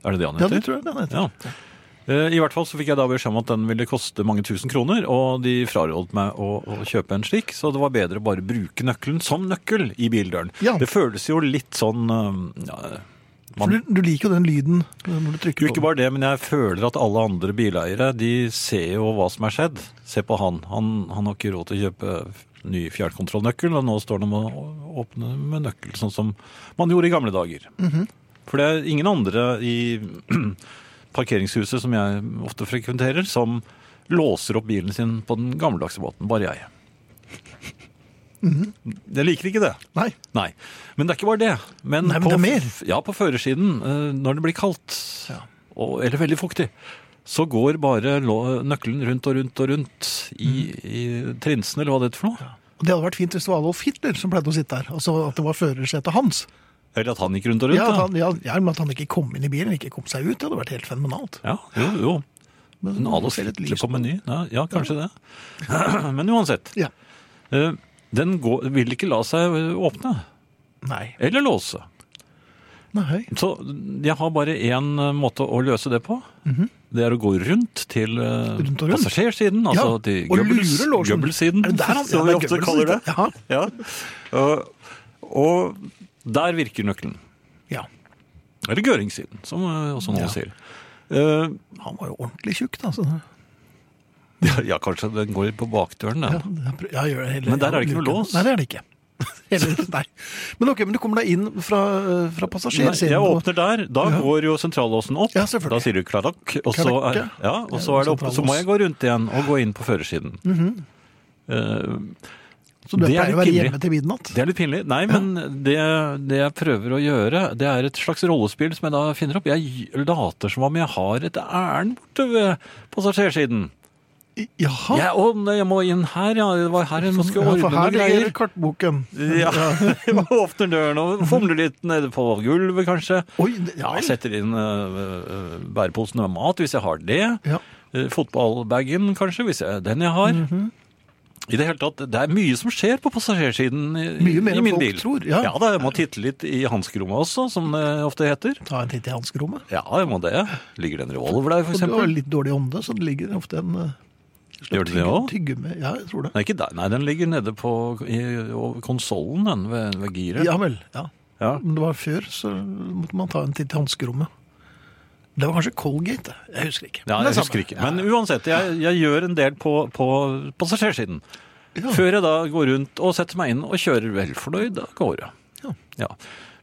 [SPEAKER 3] Er det det han
[SPEAKER 2] Ja,
[SPEAKER 3] heter?
[SPEAKER 2] det tror jeg den heter.
[SPEAKER 3] Ja. Eh, I hvert fall så fikk jeg da beskjed om at den ville koste mange tusen kroner, og de frarådet meg å, å kjøpe en slik, så det var bedre å bare bruke nøkkelen som nøkkel i bildøren.
[SPEAKER 2] Ja.
[SPEAKER 3] Det føles jo litt sånn eh, ja, man-
[SPEAKER 2] For du, du liker jo den lyden eh, når du
[SPEAKER 3] Jo,
[SPEAKER 2] trykker
[SPEAKER 3] ikke
[SPEAKER 2] på den.
[SPEAKER 3] bare det, men jeg føler at alle andre bileiere de ser jo hva som er skjedd. Se på han. Han, han har ikke råd til å kjøpe ny fjernkontrollnøkkel, og nå står han og åpner med nøkkel, sånn som man gjorde i gamle dager. For det er ingen andre i [clears throat] parkeringshuset som jeg ofte frekventerer, som låser opp bilen sin på den gammeldagse måten. Bare jeg. Jeg liker ikke det.
[SPEAKER 2] Nei.
[SPEAKER 3] Nei. Men det er ikke bare det. Men,
[SPEAKER 2] Nei, men det er mer.
[SPEAKER 3] Ja, på førersiden, eh, når det blir kaldt,
[SPEAKER 2] Ja.
[SPEAKER 3] og, eller veldig fuktig, så går bare lå- nøkkelen rundt og rundt og rundt i,
[SPEAKER 2] Mm.
[SPEAKER 3] i trinsene, eller hva det heter for noe.
[SPEAKER 2] Og Det hadde vært fint hvis det var Adolf Hitler som pleide å sitte der. Altså at det var førersetet hans.
[SPEAKER 3] Eller at han gikk rundt og rundt.
[SPEAKER 2] Ja, at
[SPEAKER 3] da.
[SPEAKER 2] han, ja, ja, men at han ikke kom inn i bilen, ikke kom seg ut, det hadde vært helt fenomenalt.
[SPEAKER 3] Ja, jo, jo.
[SPEAKER 2] Men
[SPEAKER 3] En Adolf
[SPEAKER 2] ser litt
[SPEAKER 3] Hitler
[SPEAKER 2] lys
[SPEAKER 3] på meny. Ja, ja kanskje det. [clears throat] Men uansett,
[SPEAKER 2] Ja.
[SPEAKER 3] eh, den går, vil ikke la seg eh, åpne,
[SPEAKER 2] Nei.
[SPEAKER 3] eller låse.
[SPEAKER 2] Nei.
[SPEAKER 3] Så jeg har bare én eh, måte å løse det på. Det er å gå rundt til eh,
[SPEAKER 2] Mhm. Rundt og rundt.
[SPEAKER 3] passasjersiden, altså til
[SPEAKER 2] og
[SPEAKER 3] Goebbels-
[SPEAKER 2] lure låsen.
[SPEAKER 3] Goebbels-siden,
[SPEAKER 2] Er det der han-
[SPEAKER 3] som
[SPEAKER 2] ja,
[SPEAKER 3] vi
[SPEAKER 2] det er
[SPEAKER 3] ofte
[SPEAKER 2] Goebbels
[SPEAKER 3] kaller det.
[SPEAKER 2] sitter.
[SPEAKER 3] Ja. Og, og der virker nøkkelen.
[SPEAKER 2] Ja. ja.
[SPEAKER 3] Eller Gøring-siden, som eh, også
[SPEAKER 2] Ja.
[SPEAKER 3] noen sier. Eh, [laughs]
[SPEAKER 2] Han var jo ordentlig tjukk, da. Så.
[SPEAKER 3] ja, ja, kanskje den går på bakdøren, den.
[SPEAKER 2] Ja, jeg prø- jeg gjør det hele,
[SPEAKER 3] Men der er det ikke noe
[SPEAKER 2] luken.
[SPEAKER 3] lås.
[SPEAKER 2] Nei, det er det ikke. [laughs] Heller, nei. Men ok, men du kommer deg inn fra, eh, fra
[SPEAKER 3] Nei,
[SPEAKER 2] passasjersiden.
[SPEAKER 3] jeg
[SPEAKER 2] og-
[SPEAKER 3] åpner der. Da
[SPEAKER 2] Ja.
[SPEAKER 3] går jo sentrallåsen opp.
[SPEAKER 2] Ja, selvfølgelig.
[SPEAKER 3] da sier du klarakk, og så
[SPEAKER 2] Klarakk,
[SPEAKER 3] er,
[SPEAKER 2] ja. Mhm.
[SPEAKER 3] ja, og så er det opp, så må jeg gå rundt igjen og gå inn på førersiden. Eh,
[SPEAKER 2] Så du
[SPEAKER 3] det er
[SPEAKER 2] pleier å
[SPEAKER 3] litt
[SPEAKER 2] være
[SPEAKER 3] pinlig.
[SPEAKER 2] hjemme til midnatt.
[SPEAKER 3] Det er litt pinlig. Nei, men det, det jeg prøver å gjøre, det er et slags rollespill som jeg da finner opp. Jeg later som om jeg har et ærend borte ved passasjersiden.
[SPEAKER 2] I- Jaha.
[SPEAKER 3] Jeg, å, nei, jeg må inn her, ja. Det var her jeg
[SPEAKER 2] Sånn,
[SPEAKER 3] skulle
[SPEAKER 2] ja,
[SPEAKER 3] ordne
[SPEAKER 2] for her
[SPEAKER 3] noen
[SPEAKER 2] ligger
[SPEAKER 3] greier.
[SPEAKER 2] kartboken.
[SPEAKER 3] Ja, [laughs] Åpner døren og fomler litt nede på gulvet, kanskje.
[SPEAKER 2] Oi, det- ja
[SPEAKER 3] Ja,
[SPEAKER 2] vel.
[SPEAKER 3] setter inn uh, bæreposen med mat, hvis jeg har det.
[SPEAKER 2] Ja.
[SPEAKER 3] Eh, Fotballbagen, kanskje, hvis jeg, den jeg har.
[SPEAKER 2] Mhm.
[SPEAKER 3] I det hele tatt, det er mye som skjer på passasjersiden i,
[SPEAKER 2] Mye mer
[SPEAKER 3] i
[SPEAKER 2] enn
[SPEAKER 3] min
[SPEAKER 2] folk
[SPEAKER 3] bil.
[SPEAKER 2] tror, ja.
[SPEAKER 3] ja da, jeg må titte litt i hanskerommet også, som det ofte heter.
[SPEAKER 2] Ta en titt i hanskerommet.
[SPEAKER 3] Ja, jeg må det. Ligger det en revolver der, for
[SPEAKER 2] For du har
[SPEAKER 3] eksempel?
[SPEAKER 2] litt dårlig ånde, så det ligger ofte en eh,
[SPEAKER 3] Gjør det det også?
[SPEAKER 2] tygge med Ja, jeg tror det.
[SPEAKER 3] Nei, ikke der. Nei, den ligger nede på i, over konsollen, den ved, ved giret.
[SPEAKER 2] Ja vel. ja.
[SPEAKER 3] Ja.
[SPEAKER 2] Om det var før, så måtte man ta en titt i hanskerommet. Det var kanskje Colgate. det. Jeg husker ikke.
[SPEAKER 3] Ja,
[SPEAKER 2] Men det
[SPEAKER 3] jeg
[SPEAKER 2] er samme.
[SPEAKER 3] husker ikke.
[SPEAKER 2] Ja.
[SPEAKER 3] Men uansett, jeg, jeg gjør en del på, på passasjersiden. Før jeg da går rundt og setter meg inn og kjører velfornøyd av gårde.
[SPEAKER 2] Ja.
[SPEAKER 3] Ja.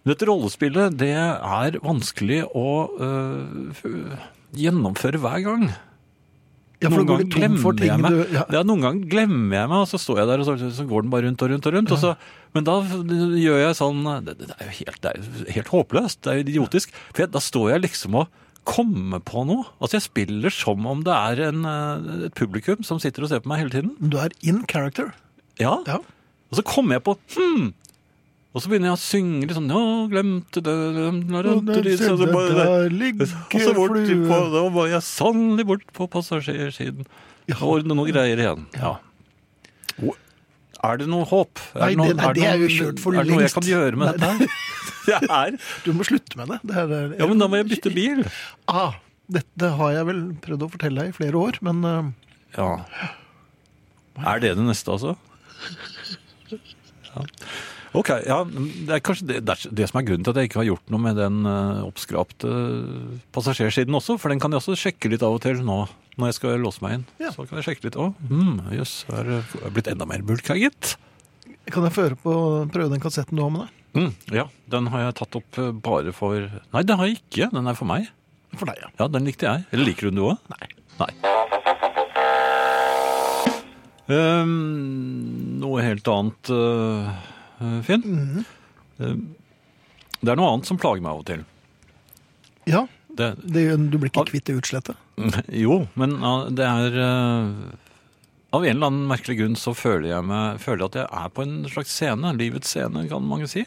[SPEAKER 3] Men Dette rollespillet det er vanskelig å øh, f- gjennomføre hver gang.
[SPEAKER 2] ja, for da går du tom for ting
[SPEAKER 3] jeg meg.
[SPEAKER 2] du ja.
[SPEAKER 3] Ja, noen gang glemmer jeg meg, og så står jeg der, og så, så går den bare rundt og rundt og rundt. Og så, men da gjør jeg sånn Det, det, er, jo helt, det er jo helt håpløst. Det er jo idiotisk. For jeg, da står jeg liksom og kommer på noe. Altså, jeg spiller som om det er en, eh, et publikum som sitter og ser på meg hele tiden.
[SPEAKER 2] Du er in character.
[SPEAKER 3] Ja.
[SPEAKER 2] Ja.
[SPEAKER 3] Og så kommer jeg på hmm. Og så begynner jeg å synge litt sånn Ja, glemte det glemte det, glemte det, så det bare-
[SPEAKER 2] der
[SPEAKER 3] og så
[SPEAKER 2] ligger
[SPEAKER 3] bort på,
[SPEAKER 2] flue
[SPEAKER 3] da var jeg sannelig bort på passasjersiden. Og ordne noen greier igjen. Ja. Og Er det noe håp?
[SPEAKER 2] Nei,
[SPEAKER 3] noe-
[SPEAKER 2] det- nei, det er jo kjørt for
[SPEAKER 3] Er det noe jeg
[SPEAKER 2] lengst.
[SPEAKER 3] kan gjøre med
[SPEAKER 2] Nei,
[SPEAKER 3] dette? [laughs] Det er,
[SPEAKER 2] Du må slutte med det. det her er,
[SPEAKER 3] ja, men da må jeg bytte bil.
[SPEAKER 2] Ah, dette har jeg vel prøvd å fortelle deg i flere år, men eh,
[SPEAKER 3] Ja. Er det det neste, altså? Ja. Ok, ja, Det er kanskje det, det, er det som er grunnen til at jeg ikke har gjort noe med den eh, oppskrapte passasjersiden også, for den kan jeg også sjekke litt av og til nå når jeg skal låse meg inn.
[SPEAKER 2] Ja.
[SPEAKER 3] mm, Så kan jeg sjekke litt. Å, hmm, jøss, er det er det blitt enda mer bulk her, gitt?
[SPEAKER 2] Kan jeg føre på, prøve den kassetten du har med deg?
[SPEAKER 3] Mm, ja, den har jeg tatt opp eh, bare for Nei, den har jeg ikke. Den er for meg.
[SPEAKER 2] For deg, ja.
[SPEAKER 3] Ja, den likte jeg. Eller liker hun det òg? Nei. Ehm, noe helt annet, eh, Finn.
[SPEAKER 2] Mhm.
[SPEAKER 3] Ehm, det er noe annet som plager meg av og til.
[SPEAKER 2] Ja,
[SPEAKER 3] Det, [laughs]
[SPEAKER 2] det, Du blir ikke kvitt det utslettet?
[SPEAKER 3] jo, men ah, det er eh, Av en eller annen merkelig grunn så føler jeg meg, føler jeg at jeg er på en slags scene. Livets scene, kan mange si.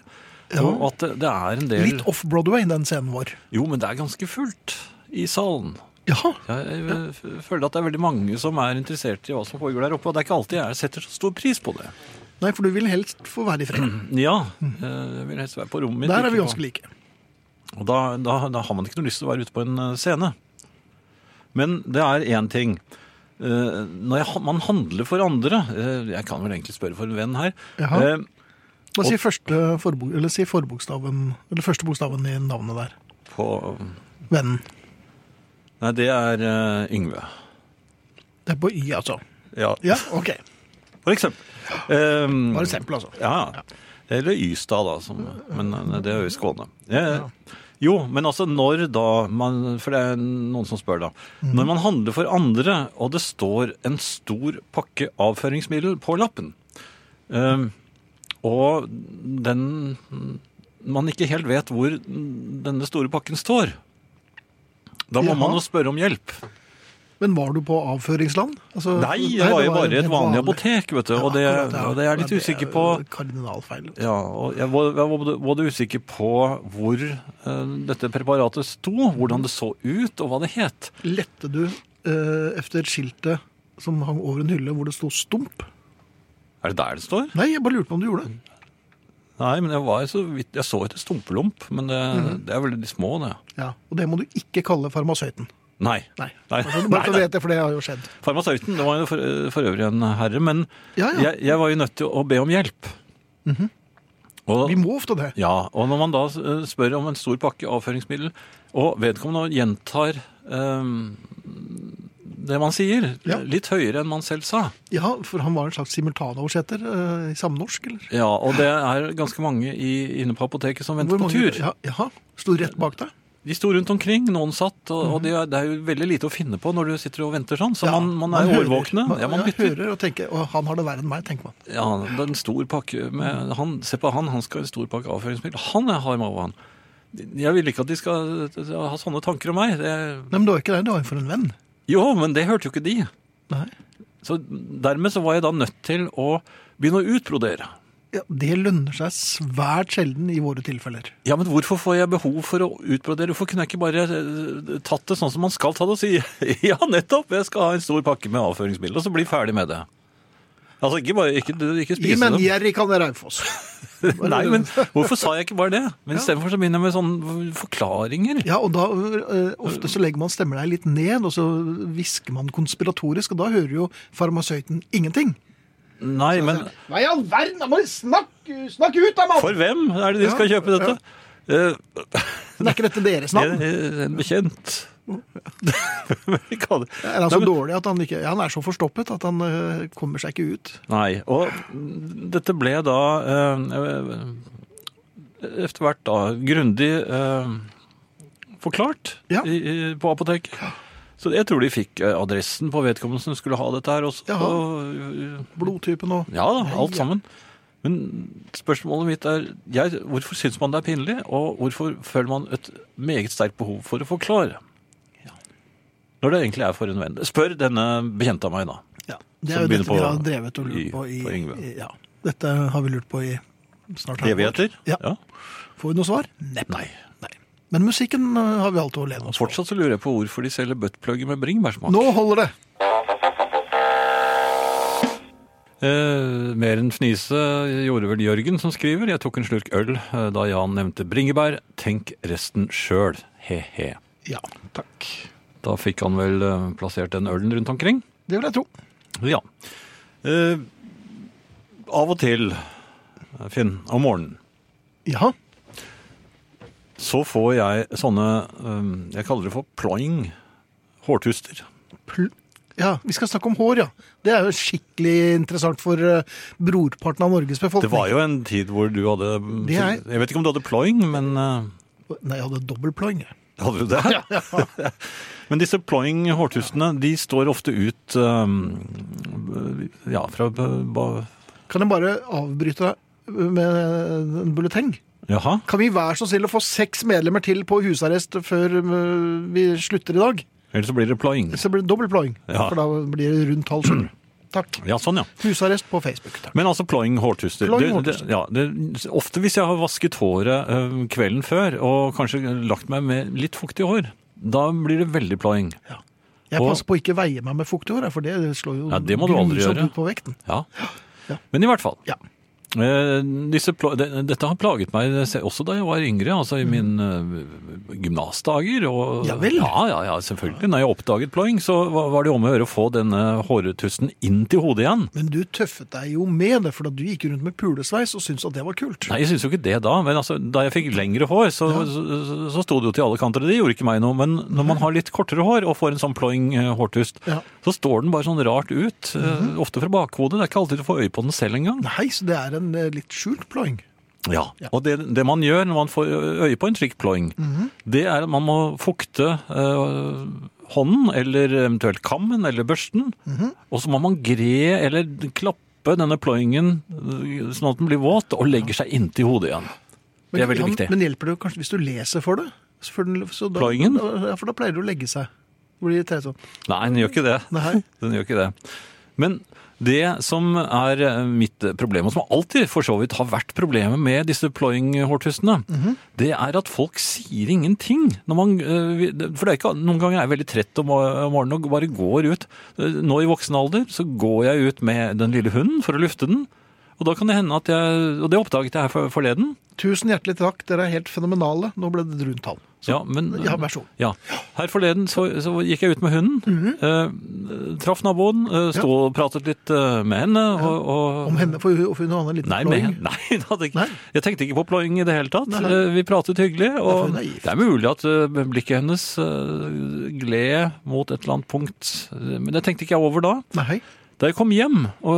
[SPEAKER 2] Ja.
[SPEAKER 3] Og at det, det er en del
[SPEAKER 2] Litt off-Broadway, den scenen vår.
[SPEAKER 3] Jo, men det er ganske fullt i salen.
[SPEAKER 2] Ja,
[SPEAKER 3] Jeg, jeg f- føler at det er veldig mange som er interessert i hva som foregår der oppe, og det er ikke alltid jeg setter så stor pris på det.
[SPEAKER 2] Nei, for du vil helst få være i fred.
[SPEAKER 3] Ja, eh, jeg vil helst være på rommet mitt.
[SPEAKER 2] Mm. Der er vi
[SPEAKER 3] ikke
[SPEAKER 2] ganske
[SPEAKER 3] på-
[SPEAKER 2] like.
[SPEAKER 3] Og da, da, da har man ikke noe lyst til å være ute på en eh, scene. Men det er én ting. Eh, Når jeg, han- man handler for andre eh, Jeg kan vel egentlig spørre for en venn her.
[SPEAKER 2] Jaha.
[SPEAKER 3] Eh,
[SPEAKER 2] Hva sier første forbo eller si forbokstaven, eller første bokstaven i navnet der?
[SPEAKER 3] På
[SPEAKER 2] Vennen.
[SPEAKER 3] Nei, det er eh, Yngve.
[SPEAKER 2] Det er på Y, altså.
[SPEAKER 3] Ja,
[SPEAKER 2] Ja, ok.
[SPEAKER 3] For eksempel. Eh,
[SPEAKER 2] Bare eksempel, altså.
[SPEAKER 3] Ja, Eller Ystad, da. Som, men eh, det er jo i Skåne. Eh, jo, men altså når da man, For det er noen som spør, da. Når man handler for andre, og det står en stor pakke avføringsmiddel på lappen, eh, og den Man ikke helt vet hvor denne store pakken står, da må
[SPEAKER 2] Jaha.
[SPEAKER 3] man jo spørre om hjelp.
[SPEAKER 2] Men var du på avføringsland? Altså,
[SPEAKER 3] Nei, det var jo bare et vanlig apotek, vet du. Og det,
[SPEAKER 2] akkurat, ja.
[SPEAKER 3] og det er jeg
[SPEAKER 2] Ja,
[SPEAKER 3] litt usikker
[SPEAKER 2] jo
[SPEAKER 3] på.
[SPEAKER 2] Kardinalfeil.
[SPEAKER 3] Ja, og jeg var, jeg var både- både usikker på hvor eh, dette preparatet sto, hvordan det så ut, og hva det het.
[SPEAKER 2] Lette du eh, efter skiltet som hang over en hylle hvor det sto stump?
[SPEAKER 3] Er det der det står?
[SPEAKER 2] Nei, jeg bare lurte på om du gjorde det.
[SPEAKER 3] Nei, men jeg, var så vidt, jeg så etter stumpelump, men det, det er vel de små, det.
[SPEAKER 2] Ja, Og det må du ikke kalle farmasøyten.
[SPEAKER 3] Nei.
[SPEAKER 2] Nei.
[SPEAKER 3] Nei.
[SPEAKER 2] Altså,
[SPEAKER 3] Nei,
[SPEAKER 2] bare så du
[SPEAKER 3] nei.
[SPEAKER 2] vet det, for det har jo skjedd.
[SPEAKER 3] Farmasøyten, det var jo for, for øvrig en herre, men
[SPEAKER 2] Ja, ja. Mhm.
[SPEAKER 3] Jeg, jeg var jo nødt til å be om hjelp. og,
[SPEAKER 2] Vi må ofte det.
[SPEAKER 3] Ja, og når man da eh, spør om en stor pakke avføringsmiddel, og vedkommende gjentar eh, det man sier,
[SPEAKER 2] Ja.
[SPEAKER 3] litt høyere enn man selv sa.
[SPEAKER 2] Ja, For han var en slags simultanoversetter eh, i samnorsk, eller?
[SPEAKER 3] Ja, og det er ganske mange i, inne på apoteket som venter
[SPEAKER 2] Hvor
[SPEAKER 3] på
[SPEAKER 2] mange-
[SPEAKER 3] tur.
[SPEAKER 2] Ja, jaha. Sto rett bak deg?
[SPEAKER 3] De sto rundt omkring, noen satt, og, og det, er, det er jo veldig lite å finne på når du sitter og venter sånn, så
[SPEAKER 2] Mhm. Ja,
[SPEAKER 3] man, man er
[SPEAKER 2] hører.
[SPEAKER 3] årvåkne.
[SPEAKER 2] Man,
[SPEAKER 3] Ja, man
[SPEAKER 2] ja,
[SPEAKER 3] bytter.
[SPEAKER 2] hører og tenker å, 'han har det verre enn meg', tenker man.
[SPEAKER 3] Ja, det er en stor pakke med han, Se på han, han skal ha en stor pakke avføringsmiddel. Han er hard mage, han. Jeg vil ikke at de skal eh, ha sånne tanker om meg. Det,
[SPEAKER 2] Nei, men det var ikke det, det var jo for en venn.
[SPEAKER 3] jo, men det hørte jo ikke de.
[SPEAKER 2] Nei.
[SPEAKER 3] Så dermed så var jeg da nødt til å begynne å utbrodere.
[SPEAKER 2] Ja, det lønner seg svært sjelden i våre tilfeller.
[SPEAKER 3] Ja, men hvorfor får jeg behov for å utbrodere? Hvorfor kunne jeg ikke bare eh, tatt det sånn som man skal ta det og si [laughs] ja, nettopp, jeg skal ha en stor pakke med avføringsmiddel, og så bli ferdig med det. Altså, ikke bare ikke, ikke
[SPEAKER 2] I
[SPEAKER 3] spise
[SPEAKER 2] men
[SPEAKER 3] dem.
[SPEAKER 2] gjerrig kan være Raufoss.
[SPEAKER 3] Nei, men hvorfor sa jeg ikke bare det? Men istedenfor så begynner jeg med sånne forklaringer.
[SPEAKER 2] Ja, og da eh, ofte så legger man stemmer deg litt ned, og så hvisker man konspiratorisk, og da hører jo farmasøyten ingenting.
[SPEAKER 3] Nei, men
[SPEAKER 2] Hva i all verden? Da må du snakke, ut, da, mann!
[SPEAKER 3] for hvem er det de skal kjøpe dette? Eh,
[SPEAKER 2] Men er ikke dette deres
[SPEAKER 3] En
[SPEAKER 2] navn?
[SPEAKER 3] en bekjent. [laughs] Vi kan-
[SPEAKER 2] Er han
[SPEAKER 3] Nei,
[SPEAKER 2] så
[SPEAKER 3] men-
[SPEAKER 2] dårlig at han ikke Ja, han er så forstoppet at han eh, kommer seg ikke ut.
[SPEAKER 3] Nei, og dette ble da eh, etter hvert da grundig eh, forklart
[SPEAKER 2] Ja.
[SPEAKER 3] i, i, på apoteket. Så jeg tror de fikk eh, adressen på vedkommende som skulle ha dette her også.
[SPEAKER 2] Jaha.
[SPEAKER 3] Og, eh,
[SPEAKER 2] Blodtypen og
[SPEAKER 3] ja da, alt
[SPEAKER 2] Ja.
[SPEAKER 3] sammen. Men spørsmålet mitt er jeg, hvorfor syns man det er pinlig, og hvorfor føler man et meget sterkt behov for å forklare? Når det egentlig er for en venn. Spør denne bekjente av meg, da.
[SPEAKER 2] Ja, det
[SPEAKER 3] Som
[SPEAKER 2] er jo
[SPEAKER 3] begynner
[SPEAKER 2] dette vi
[SPEAKER 3] på-
[SPEAKER 2] har drevet og lurt
[SPEAKER 3] i-
[SPEAKER 2] på i,
[SPEAKER 3] på Yngve.
[SPEAKER 2] i ja. Dette har vi lurt på i snart halvår.
[SPEAKER 3] Evigheter?
[SPEAKER 2] Ja.
[SPEAKER 3] ja.
[SPEAKER 2] Får vi noe svar? Neppe.
[SPEAKER 3] Nei.
[SPEAKER 2] Nei. Men musikken eh, har vi alltid å lene
[SPEAKER 3] Og
[SPEAKER 2] oss på.
[SPEAKER 3] Fortsatt så lurer jeg på hvorfor de selger buttplugger med bringebærsmak.
[SPEAKER 2] Nå holder det!
[SPEAKER 3] Eh, mer enn fnise gjorde vel Jørgen som skriver. Jeg tok en slurk øl eh, da Jan nevnte bringebær. Tenk resten sjøl, he-he.
[SPEAKER 2] Ja, takk.
[SPEAKER 3] Da fikk han vel eh, plassert den ølen rundt omkring.
[SPEAKER 2] Det vil jeg tro.
[SPEAKER 3] Ja. Eh, av og til, eh, Finn, om morgenen
[SPEAKER 2] Ja.
[SPEAKER 3] så får jeg sånne eh, Jeg kaller det for ploing. Hårtuster.
[SPEAKER 2] Pl Ja, Vi skal snakke om hår, ja. Det er jo skikkelig interessant for eh, brorparten av Norges befolkning.
[SPEAKER 3] Det var jo en tid hvor du hadde
[SPEAKER 2] Det er-
[SPEAKER 3] Jeg vet ikke om du hadde ploing, men eh,
[SPEAKER 2] Nei, jeg hadde dobbel ploing. jeg. [laughs]
[SPEAKER 3] Hadde du det? Men disse ploying hårtustene, de står ofte ut um, ja, fra b- ba-
[SPEAKER 2] Kan jeg bare avbryte deg med en bulleteng?
[SPEAKER 3] Jaha?
[SPEAKER 2] Kan vi være så snill å få seks medlemmer til på husarrest før øh, vi slutter i dag?
[SPEAKER 3] Eller så blir det ploying.
[SPEAKER 2] Så blir det dobbel ploing,
[SPEAKER 3] Ja.
[SPEAKER 2] for da blir det rundt halv
[SPEAKER 3] [clears throat]
[SPEAKER 2] sju. Takk.
[SPEAKER 3] Ja, sånn, ja.
[SPEAKER 2] Husarrest på Facebook. Takk.
[SPEAKER 3] Men altså ploying hårtuster.
[SPEAKER 2] Ploying
[SPEAKER 3] Det-
[SPEAKER 2] hårtuster.
[SPEAKER 3] det- Ja, det, ofte hvis jeg har vasket håret eh, kvelden før, og kanskje lagt meg med litt fuktig hår, da blir det veldig ploying.
[SPEAKER 2] Jeg
[SPEAKER 3] Og-
[SPEAKER 2] passer på å ikke veie meg med fuktig hår, jeg, for det slår jo
[SPEAKER 3] Ja, det må du aldri
[SPEAKER 2] grusomt
[SPEAKER 3] gjøre.
[SPEAKER 2] ut på vekten.
[SPEAKER 3] Ja.
[SPEAKER 2] Ja.
[SPEAKER 3] Men i hvert fall.
[SPEAKER 2] Ja.
[SPEAKER 3] Eh, Disse, pla- de- dette har plaget meg se- også da jeg var yngre, altså i mine eh, gymnasdager. Og,
[SPEAKER 2] Mm. Ja vel.
[SPEAKER 3] Ja, ja, ja, selvfølgelig. Når jeg oppdaget ploying, så var var det om å gjøre å få denne håretusten inn til hodet igjen.
[SPEAKER 2] Men du tøffet deg jo med det, for da du gikk rundt med pulesveis og syntes at det var kult.
[SPEAKER 3] Nei, jeg syns jo ikke det da, men altså, da jeg fikk lengre hår, så, så, så, så sto det jo til alle kanter. og Det gjorde ikke meg noe, men når man har litt kortere hår og får en sånn ploying eh, hårtust,
[SPEAKER 2] Ja. Mhm.
[SPEAKER 3] så står den bare sånn rart ut. eh, Ofte fra bakhodet. Det er ikke alltid du får øye på den selv engang.
[SPEAKER 2] Nei, så det er en eh, litt skjult ploing.
[SPEAKER 3] Ja. Og det, det man gjør når man får øye på en slik ploing, det er at man må fukte eh, hånden, eller eventuelt kammen eller børsten, og så må man gre eller klappe denne ploingen eh, sånn at den blir våt og legger seg inntil hodet igjen. Det er veldig viktig.
[SPEAKER 2] Men hjelper det jo kanskje hvis du leser for det? Så for den, så da,
[SPEAKER 3] Ploingen?
[SPEAKER 2] Ja, for da pleier det å legge seg. Det blir tre sånn.
[SPEAKER 3] Nei, den gjør ikke det.
[SPEAKER 2] Nei.
[SPEAKER 3] Den gjør ikke det. Men det som er eh, mitt problem, og som alltid for så vidt har vært problemet med disse ploying-hårtustene, det er at folk sier ingenting. Når man, eh, for det er ikke, noen ganger er jeg veldig trett om om morgenen og bare går ut. Eh, Nå i voksen alder så går jeg ut med den lille hunden for å lufte den. Og da kan det hende at jeg, og det oppdaget jeg her for- forleden,
[SPEAKER 2] Tusen hjertelig takk, dere er helt fenomenale. Nå ble det et rundt tall.
[SPEAKER 3] ja, men,
[SPEAKER 2] Ja, vær så god.
[SPEAKER 3] Ja. Her forleden så, så gikk jeg ut med hunden. eh, traff naboen, eh, sto og pratet litt eh, med henne. Og, og,
[SPEAKER 2] Om henne, for hun, for hun har en liten
[SPEAKER 3] Nei, med,
[SPEAKER 2] ploing.
[SPEAKER 3] henne- [laughs] nei, det hadde ikke,
[SPEAKER 2] Nei.
[SPEAKER 3] jeg tenkte ikke på ploying i det hele tatt.
[SPEAKER 2] Nei.
[SPEAKER 3] Eh, Vi pratet hyggelig,
[SPEAKER 2] for
[SPEAKER 3] og
[SPEAKER 2] hun er gift.
[SPEAKER 3] det er mulig at eh, blikket hennes eh, gled mot et eller annet punkt. eh, Men det tenkte ikke jeg over da.
[SPEAKER 2] Nei.
[SPEAKER 3] Da jeg kom hjem og